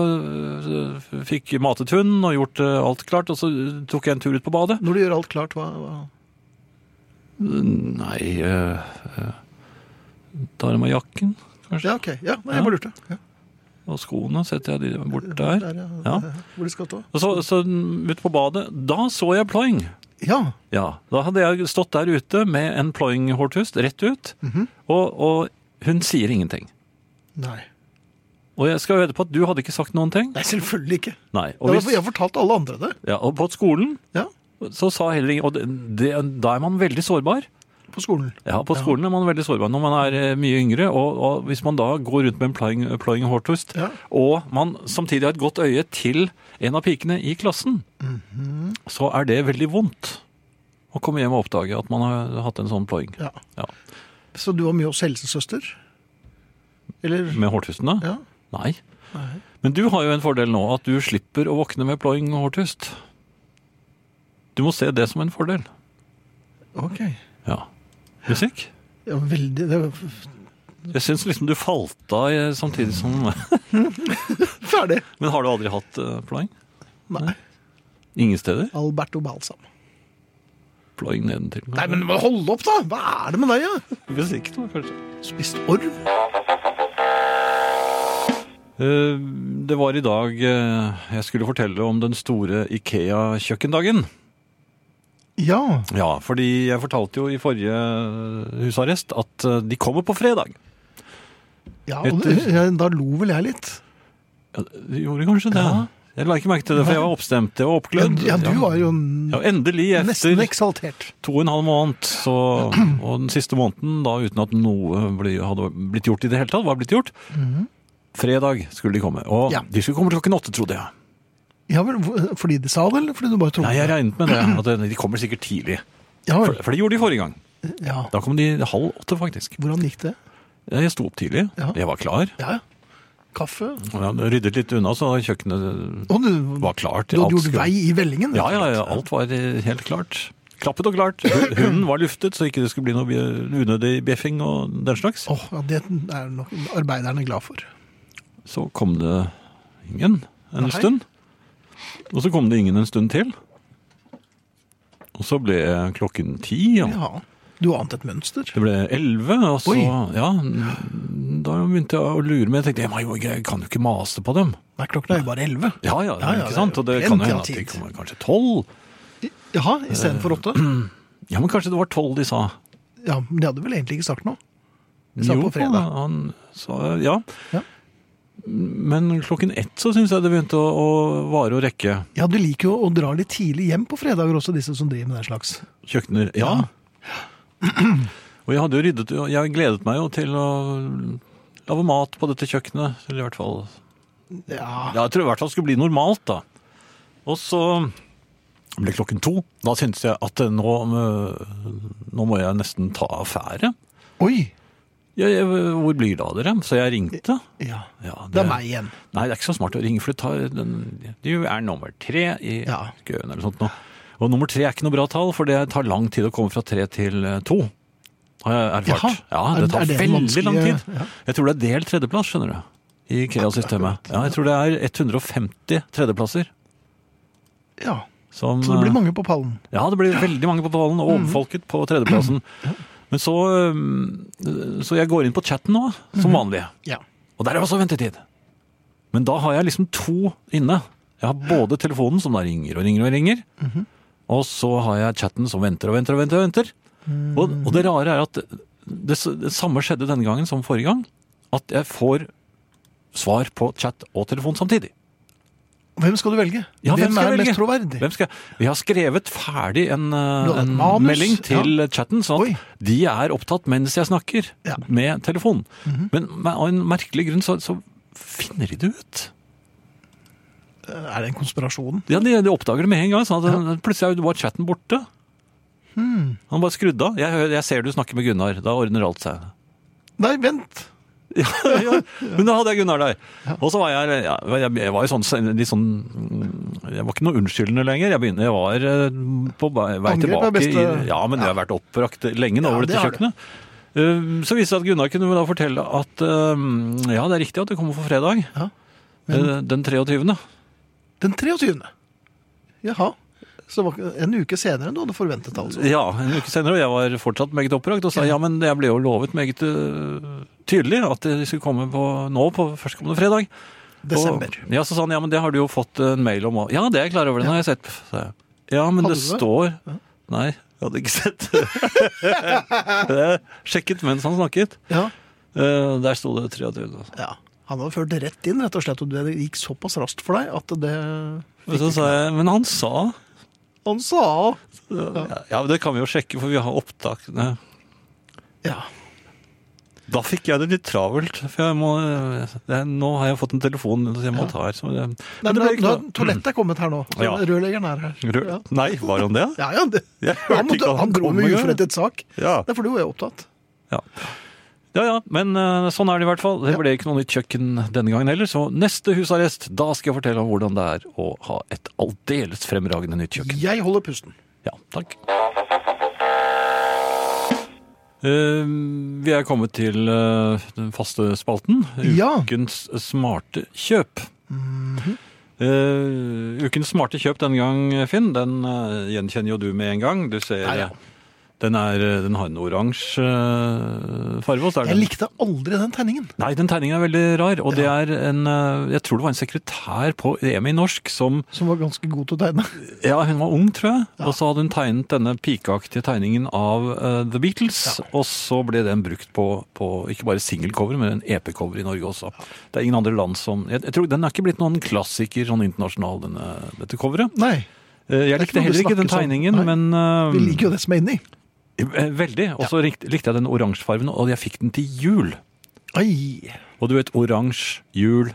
[SPEAKER 3] eh, fikk matet hunden og gjort eh, alt klart, og så tok jeg en tur ut på badet.
[SPEAKER 2] Når du gjør alt klart, hva, hva?
[SPEAKER 3] Nei, eh, eh, tar jeg meg jakken, kanskje?
[SPEAKER 2] Ja, ok. Ja, nei, jeg bare lurte. Ja,
[SPEAKER 3] Og skoene setter jeg de bort der.
[SPEAKER 2] der, ja.
[SPEAKER 3] Ja.
[SPEAKER 2] Hvor de skal stå.
[SPEAKER 3] Og så, så ut på badet, da så jeg ploing.
[SPEAKER 2] Ja.
[SPEAKER 3] Ja, da hadde jeg stått der ute med en ploing-hårtust rett ut,
[SPEAKER 2] Mhm.
[SPEAKER 3] og, og hun sier ingenting.
[SPEAKER 2] Nei.
[SPEAKER 3] Og jeg skal vedde på at du hadde ikke sagt noen ting.
[SPEAKER 2] Nei, selvfølgelig ikke.
[SPEAKER 3] Nei.
[SPEAKER 2] Ja,
[SPEAKER 3] Og,
[SPEAKER 2] for Jeg
[SPEAKER 3] hvis,
[SPEAKER 2] har fortalt alle andre det.
[SPEAKER 3] ja, og på skolen
[SPEAKER 2] Ja,
[SPEAKER 3] så sa heller ingen Og det, det, da er man veldig sårbar.
[SPEAKER 2] på skolen.
[SPEAKER 3] Ja, på skolen er man veldig sårbar når man er eh, mye yngre, og, og hvis man da går rundt med en ploying, ploying hårtust,
[SPEAKER 2] Ja.
[SPEAKER 3] og man samtidig har et godt øye til en av pikene i klassen,
[SPEAKER 2] Mhm.
[SPEAKER 3] så er det veldig vondt å komme hjem og oppdage at man har hatt en sånn ploying.
[SPEAKER 2] Ja.
[SPEAKER 3] Ja.
[SPEAKER 2] Så du var mye hos helsesøster? Eller?
[SPEAKER 3] Med hårtustene?
[SPEAKER 2] Ja.
[SPEAKER 3] Nei.
[SPEAKER 2] Nei.
[SPEAKER 3] Men du har jo en fordel nå, at du slipper å våkne med ploying hårtust. Du må se det som en fordel.
[SPEAKER 2] Ok.
[SPEAKER 3] Ja. Musikk?
[SPEAKER 2] Ja, veldig. Det var
[SPEAKER 3] Jeg syns liksom du falt av eh, samtidig som [laughs]
[SPEAKER 2] ferdig.
[SPEAKER 3] Men har du aldri hatt eh, ploying?
[SPEAKER 2] Nei.
[SPEAKER 3] Ingen steder?
[SPEAKER 2] Alberto Balsam.
[SPEAKER 3] Ploying nedentil?
[SPEAKER 2] Nei, men hold opp da! Hva er det med deg, ja?
[SPEAKER 3] Hvis ikke, da, kanskje.
[SPEAKER 2] Spist orv?
[SPEAKER 3] Eh, Det var i dag eh, jeg skulle fortelle om den store Ikea-kjøkkendagen.
[SPEAKER 2] Ja.
[SPEAKER 3] Ja, fordi jeg fortalte jo i forrige husarrest at eh, de kommer på fredag.
[SPEAKER 2] ja og
[SPEAKER 3] Etter-
[SPEAKER 2] ja, da lo vel jeg litt.
[SPEAKER 3] Ja, de gjorde kanskje det. Jeg la ikke merke til det, for jeg var oppstemt jeg var
[SPEAKER 2] Ja,
[SPEAKER 3] oppglødd.
[SPEAKER 2] ja, du var jo n-
[SPEAKER 3] ja, Endelig,
[SPEAKER 2] nesten
[SPEAKER 3] etter
[SPEAKER 2] eksaltert.
[SPEAKER 3] to og en halv måned, så,
[SPEAKER 2] [clears throat]
[SPEAKER 3] og den siste måneden da uten at noe ble, hadde blitt gjort i det hele tatt, var blitt gjort. Fredag skulle de komme. Og
[SPEAKER 2] Mhm. Ja.
[SPEAKER 3] de skulle komme klokken åtte, trodde jeg.
[SPEAKER 2] Ja, vel, hvor- fordi de sa det, eller fordi du bare trodde
[SPEAKER 3] Nei, jeg
[SPEAKER 2] det?
[SPEAKER 3] regnet med det. At det- de kommer sikkert tidlig.
[SPEAKER 2] Ja,
[SPEAKER 3] For,
[SPEAKER 2] vel.
[SPEAKER 3] for det gjorde de forrige gang.
[SPEAKER 2] ja.
[SPEAKER 3] Da kom de halv åtte, faktisk.
[SPEAKER 2] Hvordan gikk det?
[SPEAKER 3] Jeg sto opp tidlig.
[SPEAKER 2] Ja.
[SPEAKER 3] Jeg var klar.
[SPEAKER 2] Ja, ja. Kaffe?
[SPEAKER 3] og Jeg ryddet litt unna, så kjøkkenet
[SPEAKER 2] Å, du,
[SPEAKER 3] var klart.
[SPEAKER 2] du hadde
[SPEAKER 3] Alt
[SPEAKER 2] gjort
[SPEAKER 3] skulle-
[SPEAKER 2] vei i vellingen?
[SPEAKER 3] Ja, ja, ja, alt var eh, helt klart. klappet og klart. Hu- Hunden var luftet, så ikke det skulle bli noe bje- unødig bjeffing og den slags.
[SPEAKER 2] Åh, ja, det er nok arbeiderne glad for.
[SPEAKER 3] Så kom det ingen en
[SPEAKER 2] Nei.
[SPEAKER 3] stund. Og så kom det ingen en stund til. Og så ble klokken ti, og
[SPEAKER 2] Ja, du ante et mønster.
[SPEAKER 3] det ble elleve, og så
[SPEAKER 2] Oi.
[SPEAKER 3] Ja, n- da begynte jeg å lure, men jeg tenkte jeg, må jo- jeg kan jo ikke mase på dem.
[SPEAKER 2] Nei, klokken er jo bare elleve.
[SPEAKER 3] Ja, ja,
[SPEAKER 2] Ja, ja,
[SPEAKER 3] ikke sant? Og det
[SPEAKER 2] det er
[SPEAKER 3] kan jo
[SPEAKER 2] plenty
[SPEAKER 3] hende
[SPEAKER 2] av
[SPEAKER 3] at de
[SPEAKER 2] tid.
[SPEAKER 3] kommer kanskje tolv.
[SPEAKER 2] Jaha, istedenfor [clears throat] åtte?
[SPEAKER 3] Ja, men kanskje det var tolv de sa.
[SPEAKER 2] Ja, men det hadde vel egentlig ikke sagt noe. Vi sa på fredag.
[SPEAKER 3] han sa ja.
[SPEAKER 2] Ja.
[SPEAKER 3] Men klokken ett så syns jeg det begynte å, å vare og rekke.
[SPEAKER 2] Ja, du liker jo å dra litt tidlig hjem på fredager også, disse som driver med den slags.
[SPEAKER 3] Kjøkkener. Ja. Og jeg hadde jo ryddet Jeg gledet meg jo til å lage mat på dette kjøkkenet. Eller i hvert fall
[SPEAKER 2] Ja,
[SPEAKER 3] Ja, jeg tror i hvert fall det skulle bli normalt, da. Og så ble klokken to. Da syntes jeg at eh, nå, eh, nå må jeg nesten ta affære.
[SPEAKER 2] oi!
[SPEAKER 3] Ja, jeg, hvor blir det av dere? Så jeg ringte.
[SPEAKER 2] Ja,
[SPEAKER 3] Ja,
[SPEAKER 2] det er meg igjen.
[SPEAKER 3] Nei, det er ikke så smart å ringe, for du, tar den, du er nummer tre i
[SPEAKER 2] Ja.
[SPEAKER 3] køen eller sånt nå. Og nummer tre er ikke noe bra tall, for det tar lang tid å komme fra tre til eh, to. Har jeg erfart.
[SPEAKER 2] Jaha.
[SPEAKER 3] Ja,
[SPEAKER 2] Er-
[SPEAKER 3] det
[SPEAKER 2] er
[SPEAKER 3] tar
[SPEAKER 2] det den
[SPEAKER 3] veldig lang
[SPEAKER 2] vanskelige-
[SPEAKER 3] tid.
[SPEAKER 2] ja.
[SPEAKER 3] Jeg tror det er delt tredjeplass, skjønner du. I IKEA-systemet. Ja, jeg tror det er 150 tredjeplasser.
[SPEAKER 2] Ja,
[SPEAKER 3] Som,
[SPEAKER 2] så det blir
[SPEAKER 3] eh,
[SPEAKER 2] mange Mhm. på pallen.
[SPEAKER 3] ja, det blir veldig mange på pallen, og overfolket
[SPEAKER 2] [clears throat]
[SPEAKER 3] på tredjeplassen. Men så, eh, så jeg går inn på chatten nå,
[SPEAKER 2] Mhm.
[SPEAKER 3] som vanlig.
[SPEAKER 2] Ja.
[SPEAKER 3] Og der er også ventetid. Men da har jeg liksom to inne. Jeg har både telefonen, som da ringer og ringer og ringer,
[SPEAKER 2] Mhm.
[SPEAKER 3] og så har jeg chatten som venter og venter og venter. Og venter. Og, og det rare er at det, s- det samme skjedde denne gangen som forrige gang, at jeg får svar på chat og telefon samtidig.
[SPEAKER 2] Hvem skal du velge?
[SPEAKER 3] Ja, hvem
[SPEAKER 2] hvem,
[SPEAKER 3] skal jeg
[SPEAKER 2] er
[SPEAKER 3] velge?
[SPEAKER 2] mest troverdig?
[SPEAKER 3] Hvem skal jeg? Vi har skrevet ferdig en, eh,
[SPEAKER 2] Du har et
[SPEAKER 3] en
[SPEAKER 2] manus,
[SPEAKER 3] melding til chatten, sånn
[SPEAKER 2] Oi.
[SPEAKER 3] at de er opptatt mens jeg snakker
[SPEAKER 2] Ja. Mhm.
[SPEAKER 3] med telefon. Men med- av en merkelig grunn så, så finner de det ut.
[SPEAKER 2] Er det en konspirasjon?
[SPEAKER 3] Ja, de, de oppdager det med en gang. Sånn at Plutselig var chatten borte.
[SPEAKER 2] Hmm.
[SPEAKER 3] Han bare skrudde av. Jeg, hører- jeg ser du snakker med Gunnar. Da ordner alt seg.
[SPEAKER 2] Nei, vent!
[SPEAKER 3] Ja, ja. Men da hadde jeg Gunnar der. Og så var jeg, ja, jeg, jeg var jo sånn, litt sånn mm, Jeg var ikke noe unnskyldende lenger. Jeg, begynte, jeg var eh, på vei vei
[SPEAKER 2] Angrep er
[SPEAKER 3] tilbake.
[SPEAKER 2] beste-
[SPEAKER 3] i, ja, men jeg har vært oppbrakt lenge nå
[SPEAKER 2] Ja,
[SPEAKER 3] over
[SPEAKER 2] det
[SPEAKER 3] dette
[SPEAKER 2] har du.
[SPEAKER 3] kjøkkenet. Eh, Så viste det seg at Gunnar kunne da fortelle at eh, ja, det er riktig at det kommer for fredag.
[SPEAKER 2] Ja.
[SPEAKER 3] Eh, Den 23.
[SPEAKER 2] Den 23. Jaha. Så det var ikke- en uke senere enn du hadde forventet, altså.
[SPEAKER 3] Ja, en uke senere, og jeg var fortsatt meget oppbrakt, og sa ja, men jeg ble jo lovet meget eh, tydelig at det skulle komme på, nå på førstkommende fredag.
[SPEAKER 2] Desember.
[SPEAKER 3] Og, ja, så sa han, ja, men det har du jo fått en mail om. også.» Ja, det er jeg klar over, den har jeg sett. sa jeg. Ja, men
[SPEAKER 2] Hadde
[SPEAKER 3] det
[SPEAKER 2] du det?
[SPEAKER 3] står... Nei, jeg hadde ikke sett. [laughs] Jeg Sjekket mens han snakket.
[SPEAKER 2] Ja.
[SPEAKER 3] Eh, Der sto det 23. altså.
[SPEAKER 2] ja. Han hadde ført det rett inn, rett og slett, og det gikk såpass raskt for deg at det
[SPEAKER 3] Men så sa jeg, men han sa...
[SPEAKER 2] Han sa
[SPEAKER 3] Ja, det kan vi jo sjekke, for vi har opptak. Nei.
[SPEAKER 2] Ja.
[SPEAKER 3] Da fikk jeg det litt travelt, for jeg må, det, nå har jeg fått en telefon som jeg må ta her. Så det,
[SPEAKER 2] Nei,
[SPEAKER 3] men det ble
[SPEAKER 2] men
[SPEAKER 3] ikke
[SPEAKER 2] da,
[SPEAKER 3] noe.
[SPEAKER 2] Toalettet er kommet her nå.
[SPEAKER 3] Ja.
[SPEAKER 2] Rørleggeren er her.
[SPEAKER 3] Rød-
[SPEAKER 2] Ja.
[SPEAKER 3] Nei, var han det?
[SPEAKER 2] Ja, ja, det,
[SPEAKER 3] Jeg hørte
[SPEAKER 2] han, måtte,
[SPEAKER 3] ikke
[SPEAKER 2] han,
[SPEAKER 3] at han
[SPEAKER 2] dro
[SPEAKER 3] kom
[SPEAKER 2] med
[SPEAKER 3] engang.
[SPEAKER 2] uforrettet sak.
[SPEAKER 3] Ja.
[SPEAKER 2] Det er fordi hun er opptatt.
[SPEAKER 3] Ja. ja ja, men eh, sånn er det i hvert fall. Det ble ikke noe nytt kjøkken denne gangen heller, så neste husarrest, da skal jeg fortelle om hvordan det er å ha et aldeles fremragende nytt kjøkken.
[SPEAKER 2] Jeg holder pusten.
[SPEAKER 3] Ja, takk. Eh, vi er kommet til eh, den faste spalten.
[SPEAKER 2] Ja. Mhm.
[SPEAKER 3] Ukens smarte kjøp. Eh, ukens smarte kjøp denne gang, Finn, den eh, gjenkjenner jo du med en gang. Du ser eh,
[SPEAKER 2] Ja, ja.
[SPEAKER 3] Den, er, eh, den har en oransje eh, farge. og så er
[SPEAKER 2] Jeg
[SPEAKER 3] den-
[SPEAKER 2] likte aldri den tegningen.
[SPEAKER 3] Nei, den tegningen er veldig rar. Og det er en eh, Jeg tror det var en sekretær på EMI norsk som
[SPEAKER 2] Som var ganske god til å tegne. [laughs]
[SPEAKER 3] ja, hun var ung, tror jeg. Og så hadde hun tegnet denne pikeaktige tegningen av eh, The Beatles. Og så ble den brukt på, på ikke bare singelcover, men en EP-cover i Norge også. Det er ingen andre land som jeg, jeg tror Den er ikke blitt noen klassiker sånn internasjonal, denne, dette coveret.
[SPEAKER 2] Nei,
[SPEAKER 3] Eh,
[SPEAKER 2] Det
[SPEAKER 3] jeg
[SPEAKER 2] er ikke
[SPEAKER 3] likte
[SPEAKER 2] noe
[SPEAKER 3] heller
[SPEAKER 2] det
[SPEAKER 3] ikke den
[SPEAKER 2] snakkes om.
[SPEAKER 3] tegningen,
[SPEAKER 2] sånn. Nei.
[SPEAKER 3] men eh,
[SPEAKER 2] vi liker jo det som er inni.
[SPEAKER 3] eh, Veldig. Og så likte, likte jeg den oransjefargen, og jeg fikk den til jul.
[SPEAKER 2] Ai,
[SPEAKER 3] Og du vet, oransje, jul,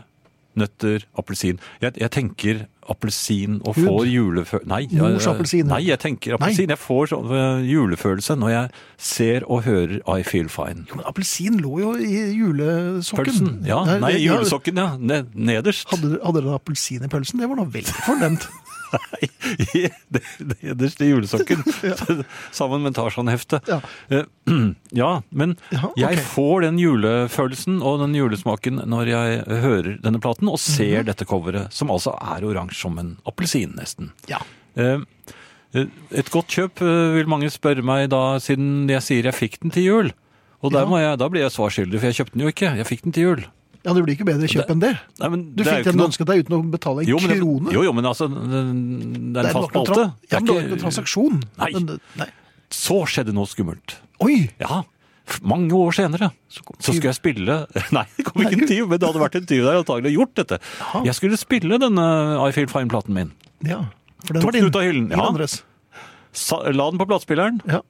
[SPEAKER 3] nøtter, appelsin. Jeg, jeg tenker appelsin og
[SPEAKER 2] Hud.
[SPEAKER 3] får julefølelse Nei, jeg-
[SPEAKER 2] Mors appelsin.
[SPEAKER 3] nei, jeg tenker appelsin. Jeg får sånn øh, julefølelse når jeg ser og hører I Feel Fine.
[SPEAKER 2] jo, men appelsin lå jo i julesokken.
[SPEAKER 3] Pølsen. Ja, nei,
[SPEAKER 2] det- ja,
[SPEAKER 3] julesokken, ja. Ne- Nederst.
[SPEAKER 2] Hadde, hadde dere appelsin i pølsen? Det var nå veldig fornemt.
[SPEAKER 3] [laughs] i det det nederste
[SPEAKER 2] [laughs]
[SPEAKER 3] julesokken [laughs] sammen med Tarzan-heftet.
[SPEAKER 2] Ja.
[SPEAKER 3] Eh, [clears throat] ja, men
[SPEAKER 2] Ja, ok.
[SPEAKER 3] jeg får den julefølelsen og den julesmaken når jeg hører denne platen
[SPEAKER 2] Mhm.
[SPEAKER 3] og ser dette coveret, som altså er oransje som en appelsin, nesten.
[SPEAKER 2] Ja.
[SPEAKER 3] Eh, Et godt kjøp, eh, vil mange spørre meg da, siden jeg sier jeg fikk den til jul. Og der
[SPEAKER 2] Ja.
[SPEAKER 3] må jeg, da blir jeg svarskyldig, for jeg kjøpte den jo ikke. Jeg fikk den til jul.
[SPEAKER 2] ja, det blir ikke bedre kjøp enn det.
[SPEAKER 3] Nei, men
[SPEAKER 2] Du
[SPEAKER 3] det er jo
[SPEAKER 2] fikk
[SPEAKER 3] ikke
[SPEAKER 2] den du
[SPEAKER 3] noe-
[SPEAKER 2] ønsket deg uten å betale en
[SPEAKER 3] Jo, men det-
[SPEAKER 2] krone.
[SPEAKER 3] Jo, jo, men altså, det, det er en
[SPEAKER 2] var
[SPEAKER 3] fast
[SPEAKER 2] ikke noe tra-
[SPEAKER 3] spalte.
[SPEAKER 2] Ja, men det var ikke noe transaksjon.
[SPEAKER 3] Nei.
[SPEAKER 2] Men det- nei.
[SPEAKER 3] Så skjedde noe skummelt.
[SPEAKER 2] Oi!
[SPEAKER 3] Ja, f- mange år senere så, kom, så skulle jeg spille [laughs] Nei, det kom ikke en tyv, men det hadde vært en tyv der antagelig og gjort dette.
[SPEAKER 2] Jaha.
[SPEAKER 3] Jeg skulle spille denne I Feel Fine-platen min.
[SPEAKER 2] Ja, for den
[SPEAKER 3] Tok
[SPEAKER 2] var
[SPEAKER 3] den
[SPEAKER 2] din.
[SPEAKER 3] ut av hyllen,
[SPEAKER 2] Ingen
[SPEAKER 3] ja.
[SPEAKER 2] andres.
[SPEAKER 3] Sa, la den på platespilleren.
[SPEAKER 2] Ja.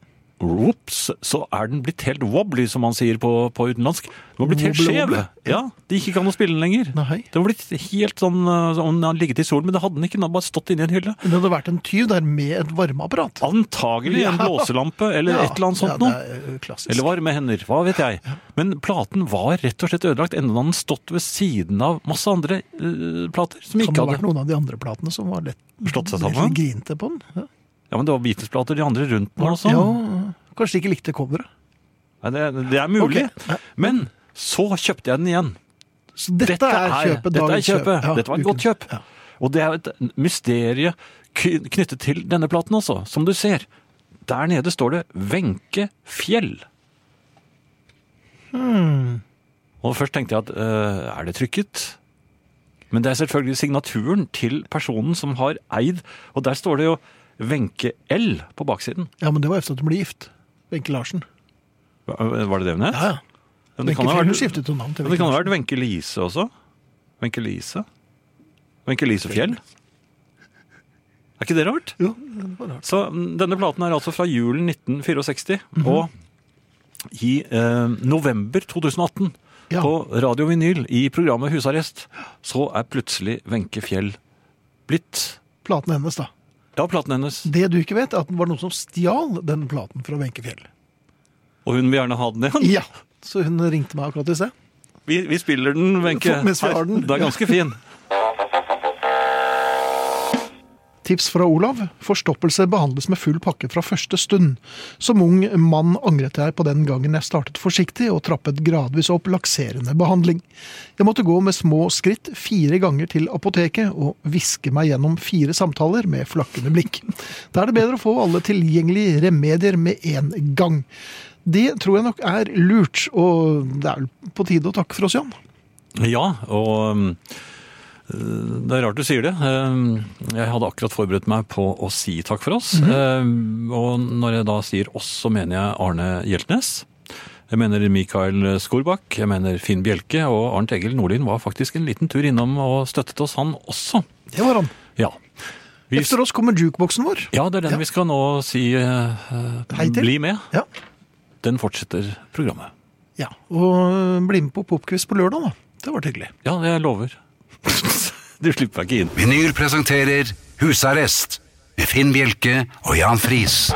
[SPEAKER 3] Ops, så er den blitt helt wobbly, som man sier på, på utenlandsk. Den var blitt helt
[SPEAKER 2] Wobble,
[SPEAKER 3] skjev.
[SPEAKER 2] wobble.
[SPEAKER 3] Ja, det gikk ikke an å spille den lenger.
[SPEAKER 2] Nei.
[SPEAKER 3] Den var blitt helt sånn øh, som om den hadde ligget i solen, men det hadde den ikke. Den hadde bare stått inni en hylle.
[SPEAKER 2] Men Det hadde vært en tyv der med et varmeapparat.
[SPEAKER 3] Antagelig en
[SPEAKER 2] Ja.
[SPEAKER 3] blåselampe eller
[SPEAKER 2] Ja,
[SPEAKER 3] et eller annet sånt
[SPEAKER 2] ja,
[SPEAKER 3] noe.
[SPEAKER 2] det er, eh, klassisk.
[SPEAKER 3] Eller varme hender, hva vet jeg. Men platen var rett og slett ødelagt, enda den hadde stått ved siden av masse andre eh, plater som
[SPEAKER 2] Kan det
[SPEAKER 3] ikke
[SPEAKER 2] ha
[SPEAKER 3] hadde
[SPEAKER 2] vært noen av de andre platene som var lett
[SPEAKER 3] slått seg
[SPEAKER 2] litt
[SPEAKER 3] sammen.
[SPEAKER 2] grinte på den? Ja.
[SPEAKER 3] Ja, men det var Beatles-plater de andre rundt den også.
[SPEAKER 2] Ja, kanskje de ikke likte coveret.
[SPEAKER 3] Nei, det, det er mulig.
[SPEAKER 2] Ok. Ja.
[SPEAKER 3] Men så kjøpte jeg den igjen.
[SPEAKER 2] Så dette, er kjøpet.
[SPEAKER 3] dette er
[SPEAKER 2] dagens
[SPEAKER 3] kjøpet.
[SPEAKER 2] Ja,
[SPEAKER 3] dette var et
[SPEAKER 2] ukens.
[SPEAKER 3] godt kjøp. Og det er et mysterie k- knyttet til denne platen også, som du ser. Der nede står det Wenche Fjell.
[SPEAKER 2] Hmm.
[SPEAKER 3] Og først tenkte jeg at øh, er det trykket? Men det er selvfølgelig signaturen til personen som har eid, og der står det jo Wenche L på baksiden.
[SPEAKER 2] Ja, men det var efter at hun ble gift. Wenche Larsen.
[SPEAKER 3] Hva- eh, Var det det hun het?
[SPEAKER 2] Ja,
[SPEAKER 3] Men
[SPEAKER 2] Wenche
[SPEAKER 3] det kan ha vært-
[SPEAKER 2] Fjell hun skiftet jo navn til
[SPEAKER 3] Men det kan ha vært Wenche Lise også? Wenche Lise? Wenche Lise Fjell? Er ikke det rart?
[SPEAKER 2] Jo, det var rart.
[SPEAKER 3] Så mm, denne platen er altså fra julen 1964,
[SPEAKER 2] Mhm.
[SPEAKER 3] og i eh, november 2018,
[SPEAKER 2] Ja.
[SPEAKER 3] på Radio Vinyl, i programmet Husarrest, så er plutselig Wenche Fjell blitt
[SPEAKER 2] Platen hennes, da.
[SPEAKER 3] Ja, platen hennes.
[SPEAKER 2] Det du ikke vet, er at det var noen som stjal den platen fra Wenche Fjell.
[SPEAKER 3] Og hun vil gjerne ha den igjen.
[SPEAKER 2] Ja. Så hun ringte meg akkurat i sted.
[SPEAKER 3] Vi, vi spiller den, Wenche.
[SPEAKER 2] For- mens vi har
[SPEAKER 3] Her.
[SPEAKER 2] den.
[SPEAKER 3] Det er ganske fin.
[SPEAKER 2] Tips fra Olav. Forstoppelse behandles med full pakke fra første stund. Som ung mann angret jeg på den gangen jeg startet forsiktig og trappet gradvis opp lakserende behandling. Jeg måtte gå med små skritt fire ganger til apoteket og viske meg gjennom fire samtaler med flakkende blikk. Da er det bedre å få alle tilgjengelige remedier med en gang. Det tror jeg nok er lurt, og det er vel på tide å takke for oss, Jan.
[SPEAKER 3] Ja, og um, eh, det er rart du sier det. Um, Jeg hadde akkurat forberedt meg på å si takk for oss.
[SPEAKER 2] Mhm.
[SPEAKER 3] Um, Og når jeg da sier oss, så mener jeg Arne Hjeltnes. Jeg mener Mikael Skorbakk, jeg mener Finn Bjelke, og Arnt Egil Nordlien var faktisk en liten tur innom og støttet oss, han også.
[SPEAKER 2] Det var han.
[SPEAKER 3] Ja. Vi,
[SPEAKER 2] Efter oss kommer jukeboksen vår.
[SPEAKER 3] ja, det er den
[SPEAKER 2] Ja.
[SPEAKER 3] vi skal nå si eh,
[SPEAKER 2] Hei til.
[SPEAKER 3] bli med.
[SPEAKER 2] Ja.
[SPEAKER 3] Den fortsetter programmet.
[SPEAKER 2] ja. Og eh, bli med på popquiz på lørdag, da. Det var hyggelig.
[SPEAKER 3] Ja, jeg lover. [laughs] du slipper meg ikke inn.
[SPEAKER 1] Vinyl presenterer Husarrest med Finn Bjelke og Jan Friis.